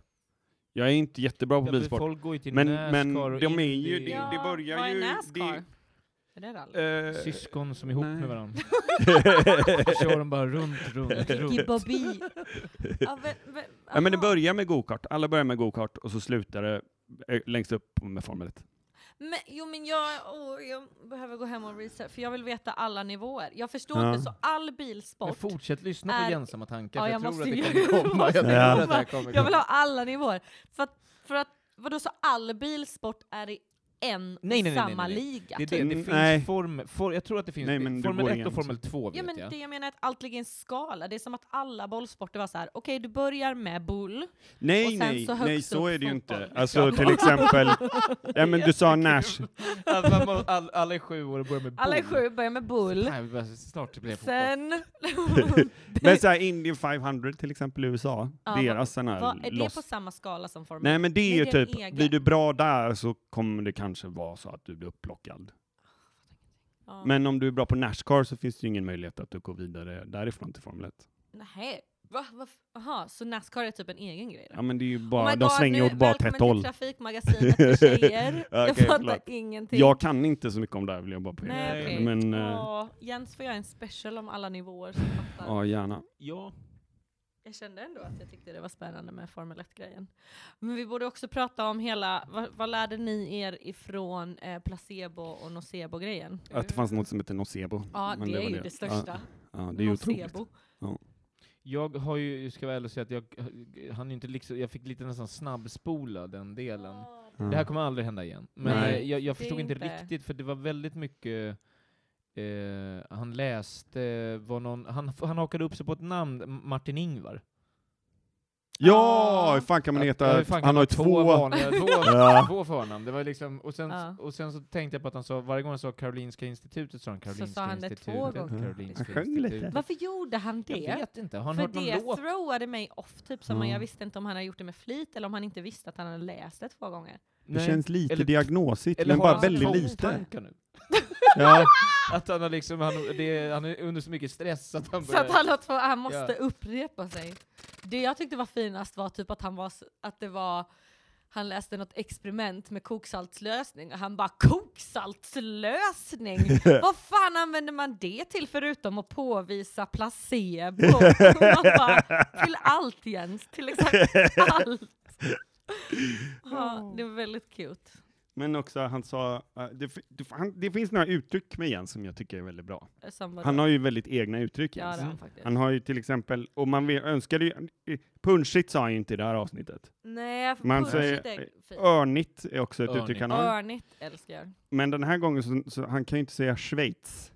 [SPEAKER 3] Jag är inte jättebra
[SPEAKER 1] Ja,
[SPEAKER 3] på
[SPEAKER 1] för
[SPEAKER 3] bilsport.
[SPEAKER 1] folk går ju till
[SPEAKER 3] Men-
[SPEAKER 1] Nascar
[SPEAKER 3] men
[SPEAKER 1] och
[SPEAKER 3] de är ju-
[SPEAKER 1] Indy.
[SPEAKER 3] det-
[SPEAKER 2] ja,
[SPEAKER 3] det börjar
[SPEAKER 2] vad är
[SPEAKER 3] ju-
[SPEAKER 2] Nascar?
[SPEAKER 3] det-
[SPEAKER 2] Är det rally?
[SPEAKER 3] Eh,
[SPEAKER 1] Syskon som är ihop
[SPEAKER 3] Nej.
[SPEAKER 1] med varandra. Så kör de bara runt, runt,
[SPEAKER 2] Ricky
[SPEAKER 1] runt.
[SPEAKER 2] Bobby. ja, ve, ve,
[SPEAKER 3] ja men det
[SPEAKER 1] Ah.
[SPEAKER 2] aha.
[SPEAKER 3] börjar med gokart. Alla börjar med gokart och så slutar det eh, längst upp med Formel 1.
[SPEAKER 2] Men, jo men jag, åh, jag behöver gå hem och research, för jag vill veta alla nivåer. Jag förstår
[SPEAKER 3] Ja.
[SPEAKER 2] inte, så all
[SPEAKER 1] Men
[SPEAKER 2] bilsport,
[SPEAKER 1] fortsätt lyssna på
[SPEAKER 2] är-
[SPEAKER 1] Jensamma tankar,
[SPEAKER 2] Ja,
[SPEAKER 1] för
[SPEAKER 2] jag
[SPEAKER 1] jag, tror att
[SPEAKER 2] måste
[SPEAKER 1] det
[SPEAKER 2] ju-
[SPEAKER 1] kommer komma. Jag
[SPEAKER 2] måste
[SPEAKER 1] tror
[SPEAKER 3] komma.
[SPEAKER 1] att det här kommer
[SPEAKER 2] jag vill
[SPEAKER 1] komma.
[SPEAKER 2] ha alla nivåer. För att, för att vadå, så all bilsport är i en och
[SPEAKER 1] Nej, nej, nej, nej,
[SPEAKER 2] samma
[SPEAKER 1] nej.
[SPEAKER 2] liga?
[SPEAKER 1] Det, är
[SPEAKER 2] typ?
[SPEAKER 1] det, det
[SPEAKER 3] Mm,
[SPEAKER 1] finns
[SPEAKER 3] nej.
[SPEAKER 1] form, for, jag tror att det finns
[SPEAKER 3] Nej, men du
[SPEAKER 1] Formel
[SPEAKER 3] går
[SPEAKER 1] 1 och
[SPEAKER 3] igen.
[SPEAKER 1] Formel 2 vet
[SPEAKER 2] Ja, men
[SPEAKER 1] jag.
[SPEAKER 2] det jag menar är att allt ligger i en skala. Det är som att alla bollsporter var så här. okej du börjar med boll. Och
[SPEAKER 3] Nej,
[SPEAKER 2] sen
[SPEAKER 3] nej,
[SPEAKER 2] så högst
[SPEAKER 3] nej, så
[SPEAKER 2] upp
[SPEAKER 3] är det ju
[SPEAKER 2] fotboll,
[SPEAKER 3] inte.
[SPEAKER 2] liksom.
[SPEAKER 3] Alltså till exempel, ja, men du sa Nash.
[SPEAKER 1] Att man må- all, alla är sju år och börjar med
[SPEAKER 2] Alla är
[SPEAKER 1] boll.
[SPEAKER 2] sju, börjar med boll.
[SPEAKER 1] Nej, vi börjar- snart blir det fotboll.
[SPEAKER 2] Sen,
[SPEAKER 3] Men så här, Indian 500 till exempel i USA,
[SPEAKER 2] Ja,
[SPEAKER 3] deras sån
[SPEAKER 2] vad,
[SPEAKER 3] här
[SPEAKER 2] är det
[SPEAKER 3] loss.
[SPEAKER 2] på samma skala som Formel
[SPEAKER 3] Nej men det är ju
[SPEAKER 2] Nej, det är en
[SPEAKER 3] typ,
[SPEAKER 2] egen.
[SPEAKER 3] blir du bra där så kommer det kanske vara så att du blir upplockad.
[SPEAKER 2] Ja.
[SPEAKER 3] Men om du är bra på Nashcar så finns det ju ingen möjlighet att du går vidare därifrån till Formel 1.
[SPEAKER 2] Nej. Va? Va? Aha, så Nascar är typ en egen grej? då?
[SPEAKER 3] Ja men det är ju
[SPEAKER 2] Oh
[SPEAKER 3] bara,
[SPEAKER 2] my
[SPEAKER 3] de
[SPEAKER 2] God,
[SPEAKER 3] svänger
[SPEAKER 2] nu-
[SPEAKER 3] ju åt bara åt
[SPEAKER 2] välkommen
[SPEAKER 3] ett håll.
[SPEAKER 2] till Trafikmagasinet för tjejer. jag
[SPEAKER 3] Okej,
[SPEAKER 2] fattar
[SPEAKER 3] förlåt.
[SPEAKER 2] ingenting.
[SPEAKER 3] Jag kan inte så mycket om det här vill jag bara på
[SPEAKER 2] Nej,
[SPEAKER 1] Nej.
[SPEAKER 2] okej.
[SPEAKER 3] Men, eh,
[SPEAKER 2] Åh, Jens får göra en special om alla nivåer. Så jag fattar.
[SPEAKER 3] ja gärna.
[SPEAKER 1] Ja,
[SPEAKER 2] Jag kände ändå att jag tyckte det var spännande med Formel 1-grejen. Men vi borde också prata om hela, vad, vad lärde ni er ifrån eh, placebo och nocebo-grejen?
[SPEAKER 3] Att det fanns något som hette nocebo.
[SPEAKER 2] Ja,
[SPEAKER 3] Men
[SPEAKER 2] det
[SPEAKER 3] var
[SPEAKER 2] är ju det största.
[SPEAKER 3] Ja, ja, det är ju otroligt.
[SPEAKER 2] nocebo.
[SPEAKER 1] jag har ju, jag ska vara ärlig och säga att jag, han är inte liksom, jag fick lite nästan snabbspola den delen.
[SPEAKER 3] Ja.
[SPEAKER 1] Det här kommer aldrig hända igen. Men
[SPEAKER 3] Mm. Nej.
[SPEAKER 1] eh, jag, jag
[SPEAKER 2] Det
[SPEAKER 1] förstod inte
[SPEAKER 2] inte.
[SPEAKER 1] riktigt, för det var väldigt mycket eh, han läste, var någon, han, han hakade upp sig på ett namn, M- Martin Ingvar.
[SPEAKER 3] Ja,
[SPEAKER 2] Ja.
[SPEAKER 3] hur fan kan man
[SPEAKER 1] Ah! Att-
[SPEAKER 3] heta...
[SPEAKER 1] ja, hur
[SPEAKER 3] ett-
[SPEAKER 1] fan kan
[SPEAKER 3] han har
[SPEAKER 1] man
[SPEAKER 3] ju två...
[SPEAKER 1] vanliga, två,
[SPEAKER 3] Ja.
[SPEAKER 1] två förnamn. Det var liksom, och, sen,
[SPEAKER 2] Ja.
[SPEAKER 1] och sen så tänkte jag på att han sa, varje gång han sa Karolinska institutet sa han Karolinska
[SPEAKER 2] sa han det två
[SPEAKER 1] institutet.
[SPEAKER 2] gånger.
[SPEAKER 1] Karolinska
[SPEAKER 3] Mm. Han sjöng lite.
[SPEAKER 1] institutet."
[SPEAKER 2] Varför gjorde han det?
[SPEAKER 1] Jag vet inte, har han
[SPEAKER 2] För
[SPEAKER 1] hört någon
[SPEAKER 2] det
[SPEAKER 1] låt?
[SPEAKER 2] throwade mig off, typ som om
[SPEAKER 3] Ja.
[SPEAKER 2] jag visste inte om han hade gjort det med flit eller om han inte visste att han hade läst det två gånger.
[SPEAKER 3] Det
[SPEAKER 1] Nej.
[SPEAKER 3] känns lite
[SPEAKER 1] Eller-
[SPEAKER 3] diagnosigt, men bara
[SPEAKER 1] han
[SPEAKER 3] väldigt lite.
[SPEAKER 1] tvångstankar Nu?
[SPEAKER 3] Ja.
[SPEAKER 1] Att han, har liksom, han, det, han är under så mycket stress att han
[SPEAKER 2] Så att
[SPEAKER 1] börjar...
[SPEAKER 2] han, att han måste
[SPEAKER 1] Ja.
[SPEAKER 2] upprepa sig. Det jag tyckte var finast var typ att han var, s- att det var han läste något experiment med koksaltslösning och han bara koksaltslösning? Vad fan använder man det till förutom att påvisa placebo? Man bara, till allt Jens, till exakt allt. Ja, det var väldigt cute.
[SPEAKER 3] Men också, han sa... eh, Det, fi- det, han, det finns några uttryck med Jens som jag tycker är väldigt bra.
[SPEAKER 2] Som var
[SPEAKER 3] Han har ju väldigt egna uttryck,
[SPEAKER 2] ja, det har
[SPEAKER 3] Jens.
[SPEAKER 2] han faktiskt.
[SPEAKER 3] Han har ju till exempel, och man vill- önskade ju... Punchigt sa han ju inte i det här avsnittet.
[SPEAKER 2] Nej, för
[SPEAKER 3] Man
[SPEAKER 2] punschigt
[SPEAKER 3] säger-
[SPEAKER 2] är fint.
[SPEAKER 3] Örnigt är också ett
[SPEAKER 1] Örnigt.
[SPEAKER 3] uttryck han har.
[SPEAKER 2] Örnigt älskar jag.
[SPEAKER 3] Men den här gången så, så han kan ju inte säga Schweiz.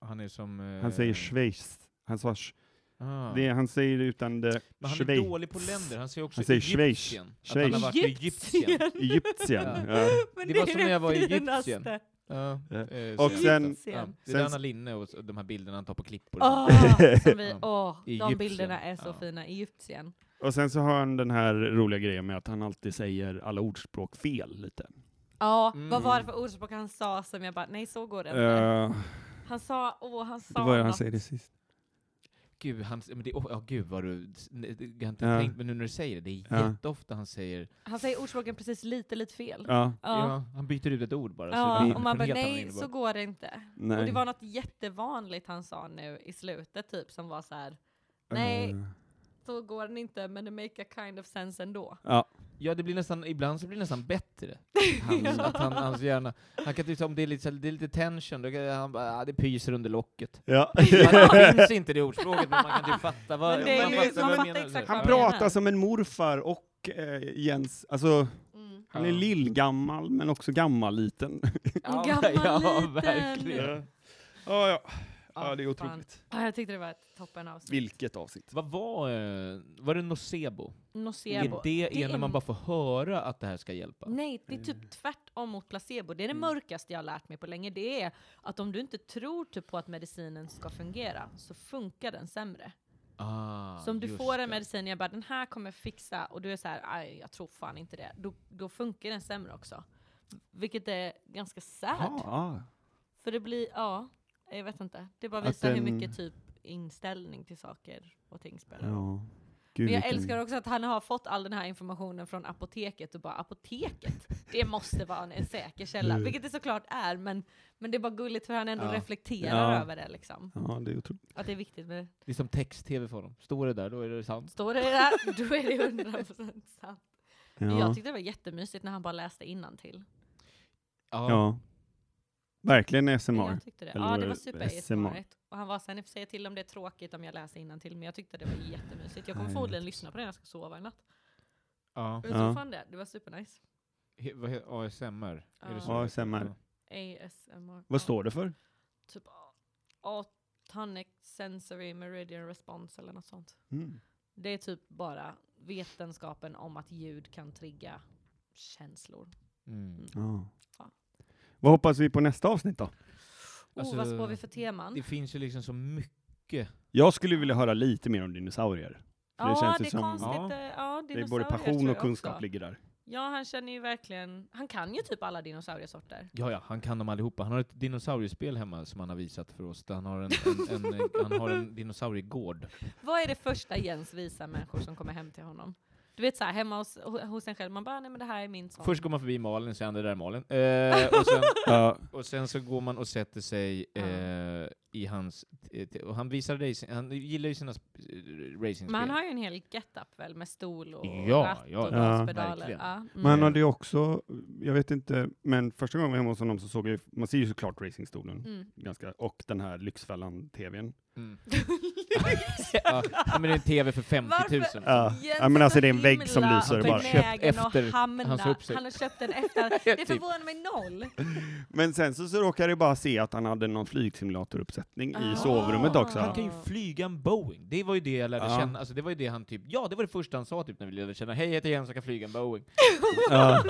[SPEAKER 1] Han är som... eh,
[SPEAKER 3] Han säger Schweiz. Han sa, sch-
[SPEAKER 1] Ah.
[SPEAKER 3] det, han säger det utan det
[SPEAKER 1] Men han
[SPEAKER 3] Schweiz.
[SPEAKER 1] är dålig på länder, han säger också
[SPEAKER 3] Han säger
[SPEAKER 1] Egyptien.
[SPEAKER 3] Schweiz.
[SPEAKER 1] Att han har varit i Egyptien.
[SPEAKER 3] Egyptien.
[SPEAKER 1] Ja.
[SPEAKER 3] ja.
[SPEAKER 2] Men
[SPEAKER 1] Det var som när jag var i
[SPEAKER 2] finaste.
[SPEAKER 1] Egyptien. Ja,
[SPEAKER 3] Ja.
[SPEAKER 1] eh,
[SPEAKER 3] Och
[SPEAKER 1] så-
[SPEAKER 3] sen-
[SPEAKER 1] Ja, det är
[SPEAKER 3] sen-
[SPEAKER 1] där Anna Linne och s- och de här bilderna han tar på klippor.
[SPEAKER 2] Åh, Ah, som vi,
[SPEAKER 1] Ja.
[SPEAKER 2] åh, de
[SPEAKER 1] Egyptien.
[SPEAKER 2] bilderna är så
[SPEAKER 1] Ja.
[SPEAKER 2] fina. Egyptien.
[SPEAKER 3] Och sen så har han den här roliga grejen med att han alltid säger alla ordspråk fel lite.
[SPEAKER 2] Ja,
[SPEAKER 1] Mm.
[SPEAKER 2] vad var det för ordspråk han sa som jag bara, nej så går det inte.
[SPEAKER 3] Eh,
[SPEAKER 2] han sa, åh han sa
[SPEAKER 3] det var det han
[SPEAKER 2] något.
[SPEAKER 3] säger det sist.
[SPEAKER 1] Gud, han, men det, oh, gud vad du... Jag har inte
[SPEAKER 3] Ja.
[SPEAKER 1] tänkt, men nu när du säger det, det är
[SPEAKER 3] Ja.
[SPEAKER 1] jätteofta han säger...
[SPEAKER 2] Han säger ordspråken precis lite, lite fel. Ja,
[SPEAKER 3] Ja,
[SPEAKER 2] ja.
[SPEAKER 1] Ja, han byter ut ett ord bara.
[SPEAKER 3] Mm.
[SPEAKER 2] och man bara,
[SPEAKER 1] får en helt annan
[SPEAKER 2] nej
[SPEAKER 1] innebörd.
[SPEAKER 2] så går det inte. Och det
[SPEAKER 3] nej.
[SPEAKER 2] var något jättevanligt han sa nu i slutet typ som var så här. nej.
[SPEAKER 3] Eh,
[SPEAKER 2] så går den inte, men det make a kind of sense ändå.
[SPEAKER 3] Ja.
[SPEAKER 1] Ja, det blir nästan, ibland så blir det nästan bättre. Han, att han, hans hjärna, han kan typ, om det är lite, så här- det är lite tension, då kan han bara, ah, det pyser under locket.
[SPEAKER 3] Ja.
[SPEAKER 1] Man finns inte det ordspråket, men man kan typ fatta vad
[SPEAKER 2] Men det är
[SPEAKER 1] man
[SPEAKER 2] ju-
[SPEAKER 1] fattar vad
[SPEAKER 2] man
[SPEAKER 1] jag
[SPEAKER 2] fattar
[SPEAKER 1] menar.
[SPEAKER 2] exakt
[SPEAKER 3] Han
[SPEAKER 2] vad
[SPEAKER 1] Ja.
[SPEAKER 2] menar.
[SPEAKER 3] pratar som en morfar och eh, Jens, alltså
[SPEAKER 2] Mm.
[SPEAKER 3] han är lillgammal men också gammal liten.
[SPEAKER 1] Ja,
[SPEAKER 2] Gammal
[SPEAKER 1] ja,
[SPEAKER 2] liten.
[SPEAKER 1] verkligen.
[SPEAKER 3] Ja, ja.
[SPEAKER 2] Ja,
[SPEAKER 3] det är
[SPEAKER 2] fan.
[SPEAKER 3] otroligt.
[SPEAKER 2] Ah, jag tyckte det var ett toppen avsnitt.
[SPEAKER 3] Vilket avsnitt.
[SPEAKER 1] Vad var, eh, var det nocebo?
[SPEAKER 2] Nocebo.
[SPEAKER 1] Är det,
[SPEAKER 2] Det
[SPEAKER 1] är när
[SPEAKER 2] är-
[SPEAKER 1] man bara får höra att det här ska hjälpa?
[SPEAKER 2] Nej, det är typ tvärtom mot placebo. Det är det mörkaste jag har lärt mig på länge. Det är att om du inte tror typ på att medicinen ska fungera så funkar den sämre.
[SPEAKER 1] Ah,
[SPEAKER 2] så om du
[SPEAKER 1] just
[SPEAKER 2] får en
[SPEAKER 1] det.
[SPEAKER 2] medicin och jag bara den här kommer fixa och du är så här, "Aj, jag tror fan inte det. Då, då funkar den sämre också. Vilket är ganska sad.
[SPEAKER 3] Ja,
[SPEAKER 2] För det blir, ja, jag vet inte. Det bara
[SPEAKER 3] Att
[SPEAKER 2] visar hur
[SPEAKER 3] den-
[SPEAKER 2] mycket typ inställning till saker och ting spelar roll.
[SPEAKER 3] ja.
[SPEAKER 2] Men jag älskar också att han har fått all den här informationen från apoteket och bara apoteket, det måste vara en säker källa.
[SPEAKER 3] Mm.
[SPEAKER 2] Vilket det såklart är, men, men det är bara gulligt hur han ändå
[SPEAKER 1] Ja.
[SPEAKER 2] reflekterar
[SPEAKER 3] Ja.
[SPEAKER 2] över det liksom.
[SPEAKER 3] Ja, det är otroligt.
[SPEAKER 2] Att det är viktigt med,
[SPEAKER 1] Det är som text-tv för honom. Står det där, då är det sant.
[SPEAKER 2] står det där, då är det 100% sant. Men
[SPEAKER 3] Ja.
[SPEAKER 2] Jag tyckte det var jättemysigt när han bara läste innantill.
[SPEAKER 1] Ja.
[SPEAKER 3] ja. Verkligen SMR.
[SPEAKER 2] Jag tyckte det.
[SPEAKER 3] Eller
[SPEAKER 2] Ja,
[SPEAKER 3] var
[SPEAKER 2] det var
[SPEAKER 3] det SMR?
[SPEAKER 2] super Och han var såhär, ni får säga till om det är tråkigt om jag läser innantill, men jag tyckte det var jättemysigt. Jag kommer
[SPEAKER 3] Nej,
[SPEAKER 2] förmodligen
[SPEAKER 3] jag
[SPEAKER 2] lyssna på det när jag ska sova i natt.
[SPEAKER 1] Ja.
[SPEAKER 2] Men så
[SPEAKER 3] Ja.
[SPEAKER 2] fan det, det var supernice.
[SPEAKER 1] He- vad heter ASMR? Är det så
[SPEAKER 3] Ja.
[SPEAKER 1] det heter?
[SPEAKER 3] ASMR.
[SPEAKER 1] Ja.
[SPEAKER 2] ASMR.
[SPEAKER 3] Vad står det för?
[SPEAKER 2] typ a- atonic sensory meridian response eller något sånt.
[SPEAKER 3] Mm.
[SPEAKER 2] Det är typ bara vetenskapen om att ljud kan trigga känslor.
[SPEAKER 1] Mm.
[SPEAKER 3] Ja.
[SPEAKER 2] Ja.
[SPEAKER 3] Vad hoppas vi på nästa avsnitt då?
[SPEAKER 1] Alltså,
[SPEAKER 2] oh, vad spår vi för teman?
[SPEAKER 1] Det finns ju liksom så mycket.
[SPEAKER 3] Jag skulle vilja höra lite mer om dinosaurier.
[SPEAKER 2] ja,
[SPEAKER 3] känns ju
[SPEAKER 2] det är
[SPEAKER 3] som-
[SPEAKER 2] konstigt.
[SPEAKER 1] Ja.
[SPEAKER 3] Det
[SPEAKER 2] eh, Ja,
[SPEAKER 3] är
[SPEAKER 2] dinosaurier
[SPEAKER 3] både
[SPEAKER 2] tror
[SPEAKER 3] passion
[SPEAKER 2] jag
[SPEAKER 3] och kunskap
[SPEAKER 2] också.
[SPEAKER 3] ligger där.
[SPEAKER 2] Ja, han känner ju verkligen... Han kan ju typ alla dinosauriesorter.
[SPEAKER 1] Ja, ja, han kan dem allihopa. Han har ett dinosauriespel hemma som han har visat för oss. Där han har en, en, en, eh, han har en dinosauriegård.
[SPEAKER 2] Vad är det första Jens visar människor som kommer hem till honom? Du vet såhär, hemma hos, ho- hos en själv, man bara nej men det här är min son.
[SPEAKER 1] Först går man förbi Malin, sen det där är Malin. Eh, och, sen,
[SPEAKER 3] Ja.
[SPEAKER 2] Mm.
[SPEAKER 1] och sen så går man och sätter sig eh, i hans... eh, t- Och han visar racing, han gillar ju sina sp- eh, racingspel.
[SPEAKER 2] men han har ju en hel get-up väl med stol och
[SPEAKER 1] Ja,
[SPEAKER 2] ratt
[SPEAKER 1] ja,
[SPEAKER 2] och
[SPEAKER 3] ja.
[SPEAKER 2] gaspedaler.
[SPEAKER 1] Verkligen.
[SPEAKER 2] Ja, mm.
[SPEAKER 3] Men han hade ju också, jag vet inte, men första gången jag var hemma hos honom så såg jag ju, man ser ju såklart racingstolen
[SPEAKER 2] Mm.
[SPEAKER 3] ganska, och den här Lyxfällan-tvn.
[SPEAKER 1] Mm. ja, men det är en TV för 50 000.
[SPEAKER 2] Varför?
[SPEAKER 3] Ja.
[SPEAKER 2] Jens
[SPEAKER 3] Ja, men
[SPEAKER 2] är
[SPEAKER 3] alltså
[SPEAKER 2] så
[SPEAKER 3] det är en vägg som
[SPEAKER 2] himla
[SPEAKER 3] lyser
[SPEAKER 1] bara.
[SPEAKER 2] benägen
[SPEAKER 1] Köpt efter
[SPEAKER 2] att hamna.
[SPEAKER 1] hans uppsikt.
[SPEAKER 2] Han har köpt den efter. Det
[SPEAKER 1] Typ.
[SPEAKER 2] förvånar mig noll.
[SPEAKER 3] Men sen så, så råkade jag bara se att han hade någon flygsimulatoruppsättning i
[SPEAKER 2] Ah.
[SPEAKER 3] sovrummet också.
[SPEAKER 1] Han kan ju flyga en Boeing. Det var ju det jag lärde
[SPEAKER 3] Ja.
[SPEAKER 1] känna. Alltså det var ju det han typ, ja det var det första han sa typ när vi lärde känna. Hej, jag heter Jens, jag kan flyga en Boeing.
[SPEAKER 3] Ja.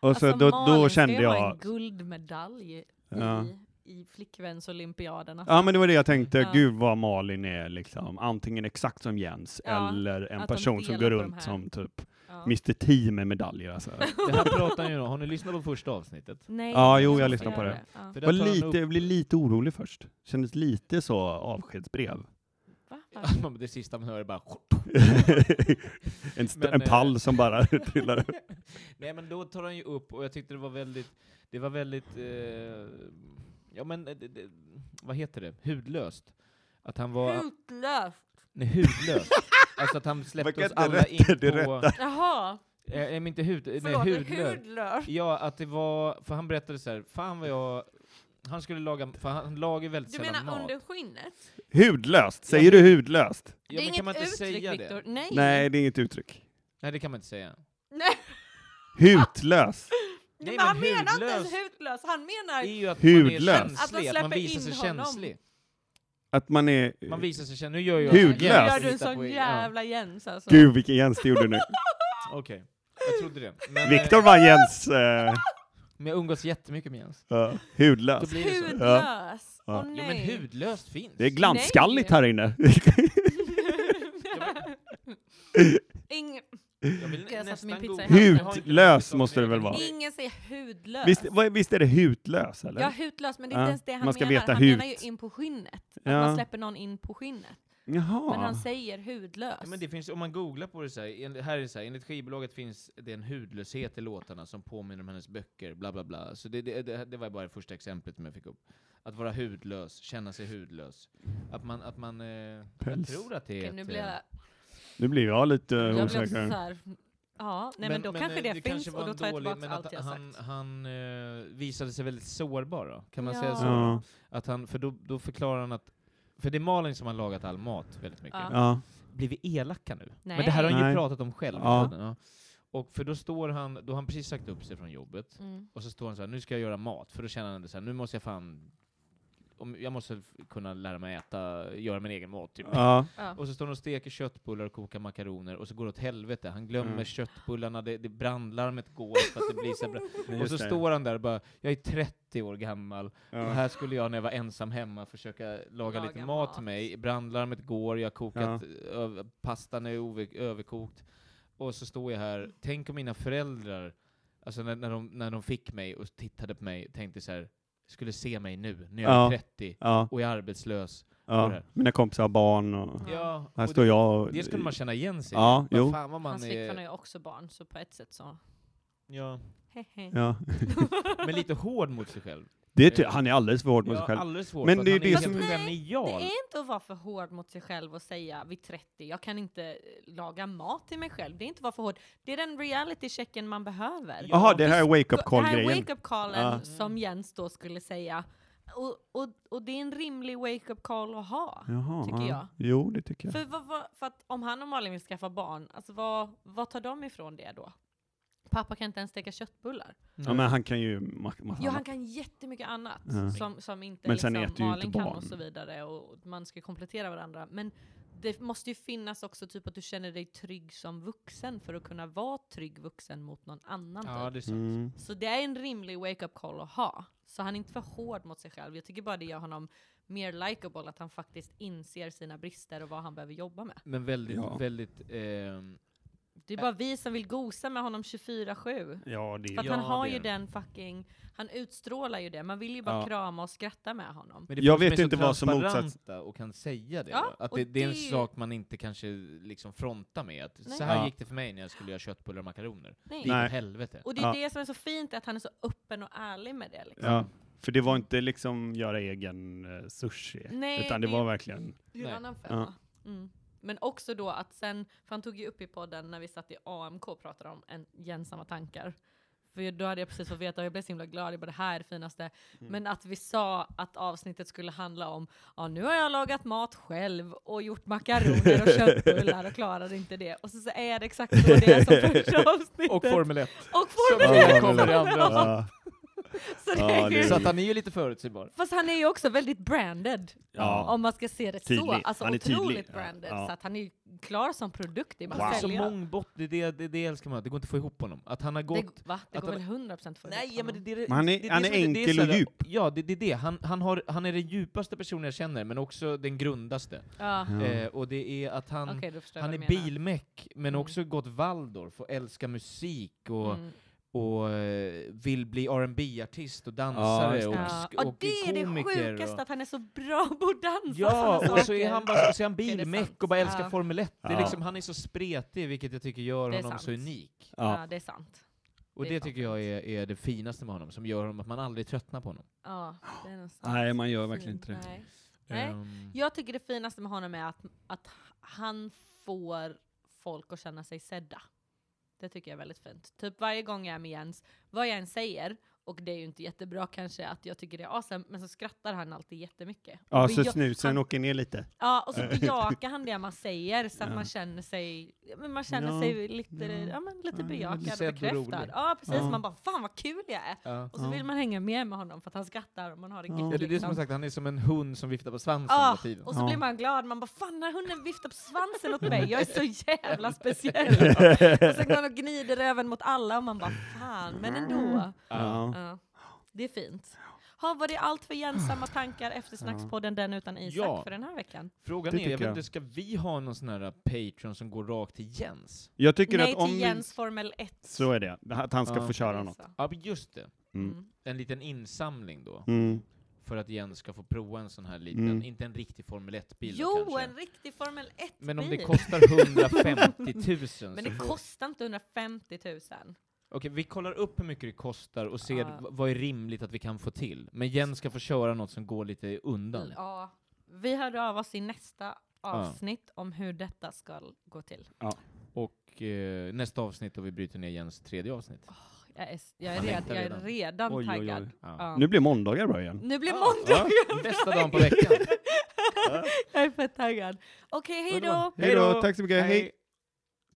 [SPEAKER 3] Och så
[SPEAKER 2] Alltså,
[SPEAKER 3] då, då
[SPEAKER 2] Malin ska ju
[SPEAKER 3] kände
[SPEAKER 2] ha en
[SPEAKER 3] jag...
[SPEAKER 2] guldmedalj
[SPEAKER 3] Ja.
[SPEAKER 2] i, i flickvänsolympiaderna.
[SPEAKER 3] Ja men det var det jag tänkte,
[SPEAKER 2] Ja.
[SPEAKER 3] gud vad Malin är liksom, antingen exakt som Jens
[SPEAKER 2] Ja,
[SPEAKER 3] eller en
[SPEAKER 2] att de
[SPEAKER 3] person som
[SPEAKER 2] delar
[SPEAKER 3] går
[SPEAKER 2] på de
[SPEAKER 3] runt
[SPEAKER 2] här.
[SPEAKER 3] som typ
[SPEAKER 2] Ja.
[SPEAKER 3] Mr T med medaljer alltså.
[SPEAKER 1] Det här pratar han ju om. Har ni lyssnat på första avsnittet?
[SPEAKER 2] Nej,
[SPEAKER 3] Ja, jo,
[SPEAKER 2] måste
[SPEAKER 3] jag lyssnar
[SPEAKER 2] göra
[SPEAKER 3] på det.
[SPEAKER 2] Ja.
[SPEAKER 1] För där
[SPEAKER 3] Var
[SPEAKER 1] tar han
[SPEAKER 3] lite,
[SPEAKER 1] upp-
[SPEAKER 3] jag blev lite orolig först. Kändes lite så avskedsbrev.
[SPEAKER 2] Va?
[SPEAKER 1] Ja, men det sista man hör är bara...
[SPEAKER 3] en, st-
[SPEAKER 1] Men,
[SPEAKER 3] en
[SPEAKER 1] eh,
[SPEAKER 3] pall som bara trillar upp.
[SPEAKER 1] Nej men då tar han ju upp, och jag tyckte det var väldigt, det var väldigt, eh, ja men, eh, det, det, vad heter det, hudlöst. Att han var,
[SPEAKER 2] Hutlöst!
[SPEAKER 1] nej hudlöst. alltså att han
[SPEAKER 3] Man kan
[SPEAKER 1] släppte oss
[SPEAKER 3] inte
[SPEAKER 1] alla
[SPEAKER 3] rätta-
[SPEAKER 1] in på...
[SPEAKER 3] det rätta.
[SPEAKER 2] Jaha,
[SPEAKER 1] Eh, nej, men inte hud, nej
[SPEAKER 2] förlåt.
[SPEAKER 1] hudlöst.
[SPEAKER 2] Hudlöst!
[SPEAKER 1] Ja, att det var, för han berättade så här, fan vad jag, han skulle laga, för han lagar väldigt
[SPEAKER 2] Du
[SPEAKER 1] sällan
[SPEAKER 2] menar
[SPEAKER 1] mat.
[SPEAKER 2] under skinnet?
[SPEAKER 3] Hudlöst! Säger du hudlöst?
[SPEAKER 1] Ja, men kan man inte säga
[SPEAKER 2] Viktor.
[SPEAKER 1] det?
[SPEAKER 2] Nej.
[SPEAKER 3] Nej, det är inget uttryck.
[SPEAKER 1] Nej, det kan man inte säga.
[SPEAKER 2] Nej.
[SPEAKER 3] Hutlös!
[SPEAKER 1] Nej,
[SPEAKER 2] men han
[SPEAKER 1] men
[SPEAKER 2] menar inte ens
[SPEAKER 1] hudlös-
[SPEAKER 2] hutlös, han menar
[SPEAKER 1] Det är ju att man
[SPEAKER 3] Hudlös.
[SPEAKER 1] är
[SPEAKER 3] Att man
[SPEAKER 1] känslig, att man,
[SPEAKER 2] släpper
[SPEAKER 1] visar
[SPEAKER 2] in
[SPEAKER 1] sig
[SPEAKER 2] honom.
[SPEAKER 1] känslig.
[SPEAKER 3] Att man är...
[SPEAKER 1] Man visar sig känslig. Nu gör jag
[SPEAKER 3] Hudlös.
[SPEAKER 1] Nu
[SPEAKER 2] Nu gör du en
[SPEAKER 1] Titta på
[SPEAKER 2] sån
[SPEAKER 1] er.
[SPEAKER 2] jävla Jens alltså.
[SPEAKER 3] Gud vilken Jens det gjorde nu.
[SPEAKER 1] Ja, Okej, jag trodde det. Men, eh,
[SPEAKER 3] Viktor vann Jens eh,
[SPEAKER 1] Men jag umgås jättemycket med Jens.
[SPEAKER 3] ja,
[SPEAKER 1] Då
[SPEAKER 3] hudlös.
[SPEAKER 1] blir det så.
[SPEAKER 2] Hudlös!
[SPEAKER 3] Ja.
[SPEAKER 2] Åh
[SPEAKER 1] Jo
[SPEAKER 2] nej.
[SPEAKER 1] men hudlöst finns.
[SPEAKER 3] Det är glansskalligt här inne.
[SPEAKER 2] Ingen,
[SPEAKER 1] Jag vill
[SPEAKER 2] Jag satte
[SPEAKER 1] nästan
[SPEAKER 2] min pizza i
[SPEAKER 1] googla. Jag
[SPEAKER 2] handen.
[SPEAKER 1] har inte
[SPEAKER 3] Hudlös
[SPEAKER 1] någon
[SPEAKER 3] måste det
[SPEAKER 1] sak, men
[SPEAKER 3] väl
[SPEAKER 1] jag-
[SPEAKER 3] vara?
[SPEAKER 2] ingen säger hudlös.
[SPEAKER 3] Visst, vad- visst är det hutlös eller?
[SPEAKER 2] Ja, hutlös, men det är inte
[SPEAKER 3] Ja,
[SPEAKER 2] ens det han
[SPEAKER 3] man ska
[SPEAKER 2] menar.
[SPEAKER 3] veta
[SPEAKER 2] han
[SPEAKER 3] hut.
[SPEAKER 2] menar ju in på skinnet. Att
[SPEAKER 3] Ja.
[SPEAKER 2] man släpper någon in på skinnet.
[SPEAKER 3] Jaha.
[SPEAKER 2] Men han säger hudlös.
[SPEAKER 1] Ja, men det finns, om man googlar på det så här, en- här är det så här, enligt skivbolaget finns det en hudlöshet i låtarna som påminner om hennes böcker, bla bla bla. Så det, det, det, det var bara det första exemplet som jag fick upp. Att vara hudlös, känna sig hudlös. Att man, att man, eh, jag
[SPEAKER 3] Päls.
[SPEAKER 1] tror att det är
[SPEAKER 2] Okej, nu blir jag,
[SPEAKER 3] Nu blir jag lite eh,
[SPEAKER 2] jag blir också så
[SPEAKER 3] osäker.
[SPEAKER 2] här, ja, nej men, då kanske
[SPEAKER 1] eh,
[SPEAKER 2] det, finns
[SPEAKER 1] kanske var
[SPEAKER 2] och då
[SPEAKER 1] en
[SPEAKER 2] tar jag
[SPEAKER 1] dålig-
[SPEAKER 2] tillbaka
[SPEAKER 1] men
[SPEAKER 2] allt
[SPEAKER 1] att
[SPEAKER 2] jag
[SPEAKER 1] han,
[SPEAKER 2] sagt.
[SPEAKER 1] Han eh, visade sig väldigt sårbar då, kan man säga
[SPEAKER 2] Ja.
[SPEAKER 1] så?
[SPEAKER 3] Ja.
[SPEAKER 1] Att han, för då, då förklarar han att, för det är Malin som har lagat all mat väldigt mycket.
[SPEAKER 2] Ja.
[SPEAKER 3] Ja.
[SPEAKER 1] blir vi elaka nu?
[SPEAKER 2] Nej.
[SPEAKER 1] Men det här har han ju
[SPEAKER 3] Nej.
[SPEAKER 1] pratat om själv.
[SPEAKER 3] Ja.
[SPEAKER 1] Ja. Och för då står han, då har han precis sagt upp sig från jobbet,
[SPEAKER 2] Mm.
[SPEAKER 1] och så står han så här, nu ska jag göra mat, för då känner han det så här, nu måste jag fan, om, jag måste f- kunna lära mig äta, göra min egen mat typ.
[SPEAKER 3] Ja.
[SPEAKER 2] Ja.
[SPEAKER 1] Och så står han och steker köttbullar och kokar makaroner, och så går det åt helvete, han glömmer
[SPEAKER 3] Mm.
[SPEAKER 1] köttbullarna, det, det brandlarmet går för att det blir så bra. Och så
[SPEAKER 3] Just det.
[SPEAKER 1] står han där och bara, jag är 30 år gammal, och
[SPEAKER 3] Ja.
[SPEAKER 1] här skulle jag när jag var ensam hemma försöka laga,
[SPEAKER 2] Laga
[SPEAKER 1] lite mat till
[SPEAKER 2] mat.
[SPEAKER 1] mig. Brandlarmet går, jag har kokat, ö- pastan är ove- överkokt. Och så står jag här, tänk om mina föräldrar, alltså när, när, de, när de fick mig och tittade på mig, tänkte så här, skulle se mig nu, när jag är
[SPEAKER 3] Ja.
[SPEAKER 1] 30
[SPEAKER 3] Ja.
[SPEAKER 1] och är arbetslös.
[SPEAKER 3] Ja. Mina kompisar har barn och
[SPEAKER 2] Ja.
[SPEAKER 1] Ja,
[SPEAKER 3] här
[SPEAKER 1] och
[SPEAKER 3] står
[SPEAKER 1] det,
[SPEAKER 3] jag och...
[SPEAKER 1] det skulle man känna igen sig i.
[SPEAKER 3] Ja,
[SPEAKER 1] Vad
[SPEAKER 3] jo.
[SPEAKER 1] fan vad man
[SPEAKER 2] Hans flickvän har
[SPEAKER 1] är...
[SPEAKER 2] ju också barn, så på ett sätt så...
[SPEAKER 1] Ja.
[SPEAKER 2] Hehe.
[SPEAKER 3] Ja.
[SPEAKER 1] Men lite hård mot sig själv.
[SPEAKER 3] Det är ty- han är alldeles för hård mot sig
[SPEAKER 1] Ja,
[SPEAKER 3] själv.
[SPEAKER 1] alldeles hård,
[SPEAKER 3] Men
[SPEAKER 1] för att
[SPEAKER 3] det är
[SPEAKER 1] han
[SPEAKER 3] det
[SPEAKER 1] är
[SPEAKER 3] som-
[SPEAKER 1] helt
[SPEAKER 2] Nej, Det
[SPEAKER 1] genial.
[SPEAKER 2] är inte att vara för hård mot sig själv och säga vid 30, jag kan inte eh, laga mat till mig själv. Det är inte att vara för hård. Det är den reality checken man behöver.
[SPEAKER 1] Ja,
[SPEAKER 3] Jaha, det här är wake-up
[SPEAKER 2] Det här är
[SPEAKER 3] call-grejen.
[SPEAKER 2] wake-up callen
[SPEAKER 3] Ja.
[SPEAKER 2] som Jens då skulle säga. Och, och, och det är en rimlig wake-up call att ha.
[SPEAKER 3] Jaha,
[SPEAKER 2] tycker
[SPEAKER 3] ja.
[SPEAKER 2] jag.
[SPEAKER 3] Jo, det tycker jag.
[SPEAKER 2] För, vad, vad, för att om han och Malin vill skaffa barn, alltså vad, vad tar de ifrån det då? Pappa kan inte ens steka köttbullar.
[SPEAKER 3] Ja, men han kan ju ma- massa
[SPEAKER 2] Jo, han
[SPEAKER 3] annat.
[SPEAKER 2] kan jättemycket annat
[SPEAKER 3] Ja.
[SPEAKER 2] som, som inte
[SPEAKER 3] Men sen äter
[SPEAKER 2] liksom
[SPEAKER 3] ju
[SPEAKER 2] Malin
[SPEAKER 3] inte
[SPEAKER 2] kan
[SPEAKER 3] barn.
[SPEAKER 2] och så vidare. Och man ska komplettera varandra. Men det måste ju finnas också typ att du känner dig trygg som vuxen för att kunna vara trygg vuxen mot någon annan.
[SPEAKER 1] Ja,
[SPEAKER 2] typ.
[SPEAKER 1] det är sant.
[SPEAKER 3] Mm.
[SPEAKER 2] Så det är en rimlig wake-up call att ha. Så han är inte för hård mot sig själv. Jag tycker bara det gör honom mer likable att han faktiskt inser sina brister och vad han behöver jobba med.
[SPEAKER 1] Men väldigt,
[SPEAKER 3] Ja.
[SPEAKER 1] väldigt... ehm,
[SPEAKER 2] Det är bara vi som vill gosa med honom 24-7.
[SPEAKER 3] Ja, det
[SPEAKER 2] För att
[SPEAKER 1] Ja,
[SPEAKER 2] han har
[SPEAKER 1] det är
[SPEAKER 2] ju
[SPEAKER 1] det.
[SPEAKER 2] den fucking, han utstrålar ju det. Man vill ju bara
[SPEAKER 3] Ja.
[SPEAKER 2] krama och skratta med honom.
[SPEAKER 1] Men det
[SPEAKER 3] Jag
[SPEAKER 1] är folk
[SPEAKER 3] vet
[SPEAKER 1] är
[SPEAKER 3] inte
[SPEAKER 1] så
[SPEAKER 3] vad som
[SPEAKER 1] transparenta
[SPEAKER 3] motsats-
[SPEAKER 1] och kan säga det.
[SPEAKER 2] Ja,
[SPEAKER 1] va? att
[SPEAKER 2] och
[SPEAKER 1] det, det är en
[SPEAKER 2] det är ju-
[SPEAKER 1] sak man inte kanske liksom frontar med. Att
[SPEAKER 2] Nej.
[SPEAKER 1] så här
[SPEAKER 3] Ja.
[SPEAKER 1] gick det för mig när jag skulle göra köttbullar och makaroner. Det
[SPEAKER 2] Nej.
[SPEAKER 1] gick
[SPEAKER 3] Nej.
[SPEAKER 1] åt helvete.
[SPEAKER 2] Och det är
[SPEAKER 3] Ja.
[SPEAKER 2] det som är så fint, att han är så öppen och ärlig med det. Liksom.
[SPEAKER 3] Ja, för det var inte liksom göra egen eh, sushi,
[SPEAKER 2] Nej,
[SPEAKER 3] utan det
[SPEAKER 2] det-
[SPEAKER 3] var verkligen...
[SPEAKER 2] Det är en
[SPEAKER 1] Nej.
[SPEAKER 2] annan femma. Mm. Men också då att sen, för han tog ju upp i podden när vi satt i AMK och pratade om en, igen samma tankar. För då hade jag precis fått veta och jag blev så himla glad, jag bara det här är det finaste. Men att vi sa att avsnittet skulle handla om, ja nu har jag lagat mat själv och gjort makaroner och köttbullar och klarade inte det. Och så, så är det exakt så det är som första avsnittet.
[SPEAKER 1] Och Formel 1.
[SPEAKER 2] Och
[SPEAKER 1] Som
[SPEAKER 2] Formel
[SPEAKER 1] jag
[SPEAKER 2] ett.
[SPEAKER 1] kommer i andra.
[SPEAKER 3] Ja,
[SPEAKER 2] Så det
[SPEAKER 3] Ja,
[SPEAKER 2] är
[SPEAKER 3] det
[SPEAKER 2] ju
[SPEAKER 3] är-
[SPEAKER 1] Så att han är ju lite förutsägbar.
[SPEAKER 2] Fast han är ju också väldigt branded.
[SPEAKER 3] Ja.
[SPEAKER 2] Om man ska se det så.
[SPEAKER 3] Tydlig.
[SPEAKER 2] Alltså
[SPEAKER 3] Han är tydlig.
[SPEAKER 2] otroligt
[SPEAKER 3] Ja,
[SPEAKER 2] branded.
[SPEAKER 3] ja.
[SPEAKER 2] Så att han är ju klar som produkt. Det är
[SPEAKER 1] Han
[SPEAKER 2] bara
[SPEAKER 3] Wow.
[SPEAKER 2] att
[SPEAKER 1] Så
[SPEAKER 2] sälja.
[SPEAKER 1] mångbott, det, är det, det, är det jag älskar man. Det går inte att få ihop honom. Att han har gått...
[SPEAKER 2] det, va? det
[SPEAKER 1] att
[SPEAKER 2] går
[SPEAKER 1] han-
[SPEAKER 2] väl 100% för Mm.
[SPEAKER 1] Nej, ja, men det, det, det,
[SPEAKER 3] Men han är-
[SPEAKER 1] det, det
[SPEAKER 3] han är
[SPEAKER 1] som det- det
[SPEAKER 3] enkel
[SPEAKER 1] så
[SPEAKER 3] och
[SPEAKER 1] här-
[SPEAKER 3] djup.
[SPEAKER 1] Ja, det är det, är det. Han, han, har, han är den djupaste personen jag känner, men också den grundaste.
[SPEAKER 2] Ja.
[SPEAKER 1] Eh, och det är att han...
[SPEAKER 2] Okej, då förstår jag
[SPEAKER 1] Han
[SPEAKER 2] vad
[SPEAKER 1] är
[SPEAKER 2] du menar.
[SPEAKER 1] bilmeck, men
[SPEAKER 2] Mm.
[SPEAKER 1] också gått Waldorf och älskar musik och,
[SPEAKER 2] Mm.
[SPEAKER 1] och eh, vill bli rb artist och dansare
[SPEAKER 3] just
[SPEAKER 1] och,
[SPEAKER 3] det.
[SPEAKER 2] Ja.
[SPEAKER 1] sk-
[SPEAKER 2] Och,
[SPEAKER 1] och
[SPEAKER 2] det är det
[SPEAKER 1] komiker.
[SPEAKER 2] sjukaste,
[SPEAKER 1] och,
[SPEAKER 2] att han är så bra på att dansa
[SPEAKER 1] Ja,
[SPEAKER 2] såna
[SPEAKER 1] och så
[SPEAKER 2] saker.
[SPEAKER 1] är han, bara, så är han
[SPEAKER 2] sant?
[SPEAKER 1] bilmeck och bara älskar
[SPEAKER 2] Ja.
[SPEAKER 1] Formel 1. Det är
[SPEAKER 3] Ja.
[SPEAKER 1] liksom, han är så spretig, vilket jag tycker gör
[SPEAKER 2] Det är
[SPEAKER 1] honom så
[SPEAKER 2] sant.
[SPEAKER 1] unik.
[SPEAKER 2] Ja.
[SPEAKER 3] ja.
[SPEAKER 2] det är sant.
[SPEAKER 1] Och
[SPEAKER 2] Det
[SPEAKER 1] det,
[SPEAKER 2] är sant.
[SPEAKER 1] tycker jag är, är det finaste med honom, som gör honom att man aldrig tröttnar på honom.
[SPEAKER 2] Ja, det är nog sant.
[SPEAKER 3] Nej, man gör verkligen inte det.
[SPEAKER 2] Nej. Nej.
[SPEAKER 1] Ehm,
[SPEAKER 2] Jag tycker det finaste med honom är att, att han får folk att känna sig sedda. Det tycker jag är väldigt fint. Typ varje gång jag är med Jens, vad jag än säger, och det är ju inte jättebra kanske att jag tycker det är awesome, men så skrattar han alltid jättemycket.
[SPEAKER 3] Ja,
[SPEAKER 2] Och
[SPEAKER 3] så
[SPEAKER 2] jag-
[SPEAKER 3] snusen
[SPEAKER 2] han-
[SPEAKER 3] åker ner lite.
[SPEAKER 2] Ja, och så bejakar han det man säger så att
[SPEAKER 3] Ja.
[SPEAKER 2] man känner sig, men man känner
[SPEAKER 3] Ja.
[SPEAKER 2] sig lite,
[SPEAKER 3] Ja.
[SPEAKER 2] ja, men lite
[SPEAKER 3] Ja,
[SPEAKER 2] bejakad och
[SPEAKER 1] sedd och
[SPEAKER 2] bekräftad.
[SPEAKER 1] rolig.
[SPEAKER 2] ja, precis.
[SPEAKER 3] Ja.
[SPEAKER 2] Man bara fan vad kul jag är!
[SPEAKER 1] ja.
[SPEAKER 2] Och så
[SPEAKER 3] Ja.
[SPEAKER 2] vill man hänga med med honom för att han skrattar och man har det
[SPEAKER 3] Ja.
[SPEAKER 2] gött.
[SPEAKER 1] Ja, det är det som
[SPEAKER 2] liksom.
[SPEAKER 1] jag sagt, han är som en hund som viftar på svansen
[SPEAKER 2] Ja,
[SPEAKER 1] hela tiden.
[SPEAKER 2] Ah! och så
[SPEAKER 3] Ja.
[SPEAKER 2] blir man glad. Man bara fan när hunden viftar på svansen åt mig, jag är så jävla speciell. och sen går han och gnider röven mot alla och man bara fan, men
[SPEAKER 1] Mm.
[SPEAKER 2] ändå.
[SPEAKER 3] Ja.
[SPEAKER 2] Ja, det är fint. Ha, var det allt för Jensamma tankar efter Snackspodden Den utan Isak
[SPEAKER 1] Ja.
[SPEAKER 2] för den här veckan?
[SPEAKER 1] Frågan
[SPEAKER 3] Det
[SPEAKER 1] är, jag
[SPEAKER 3] tycker
[SPEAKER 1] vet
[SPEAKER 3] jag.
[SPEAKER 1] inte, ska vi ha någon sån här Patreon som går rakt till Jens?
[SPEAKER 3] Jag tycker
[SPEAKER 2] Nej
[SPEAKER 3] att om...
[SPEAKER 2] till Jens Formel Mm. 1.
[SPEAKER 3] Så är det, att han ska
[SPEAKER 1] Ja.
[SPEAKER 3] få köra något.
[SPEAKER 2] Resa.
[SPEAKER 1] Ja, men just det.
[SPEAKER 3] Mm.
[SPEAKER 2] Mm.
[SPEAKER 1] En liten insamling då.
[SPEAKER 3] Mm.
[SPEAKER 1] för att Jens ska få prova en sån här liten,
[SPEAKER 3] Mm.
[SPEAKER 1] inte en riktig Formel 1-bil
[SPEAKER 2] jo,
[SPEAKER 1] kanske.
[SPEAKER 2] en riktig Formel 1-bil!
[SPEAKER 1] Men om det kostar 150 000 så
[SPEAKER 2] Men det
[SPEAKER 1] får-
[SPEAKER 2] kostar inte 150 000.
[SPEAKER 1] Okej, vi kollar upp hur mycket det kostar och ser
[SPEAKER 2] Ja.
[SPEAKER 1] v- vad är rimligt att vi kan få till. Men Jens ska få köra något som går lite undan.
[SPEAKER 2] Ja. Vi hör av oss i nästa avsnitt om hur detta ska gå till.
[SPEAKER 1] Och eh, nästa avsnitt då vi bryter ner Jens tredje
[SPEAKER 2] Ah.
[SPEAKER 1] avsnitt.
[SPEAKER 2] Jag är, jag är,
[SPEAKER 1] Man
[SPEAKER 2] red,
[SPEAKER 1] längtar
[SPEAKER 2] jag är
[SPEAKER 1] redan.
[SPEAKER 2] redan
[SPEAKER 3] Oj, oj, oj.
[SPEAKER 2] taggad.
[SPEAKER 1] Ja.
[SPEAKER 2] Ja.
[SPEAKER 3] Nu blir måndagar bra igen.
[SPEAKER 2] Nu blir
[SPEAKER 1] Ja.
[SPEAKER 2] måndag!
[SPEAKER 1] Bästa dagen på veckan.
[SPEAKER 2] jag är fett taggad. Okej, hej då!
[SPEAKER 1] Hej då.
[SPEAKER 3] Tack så mycket. Hej.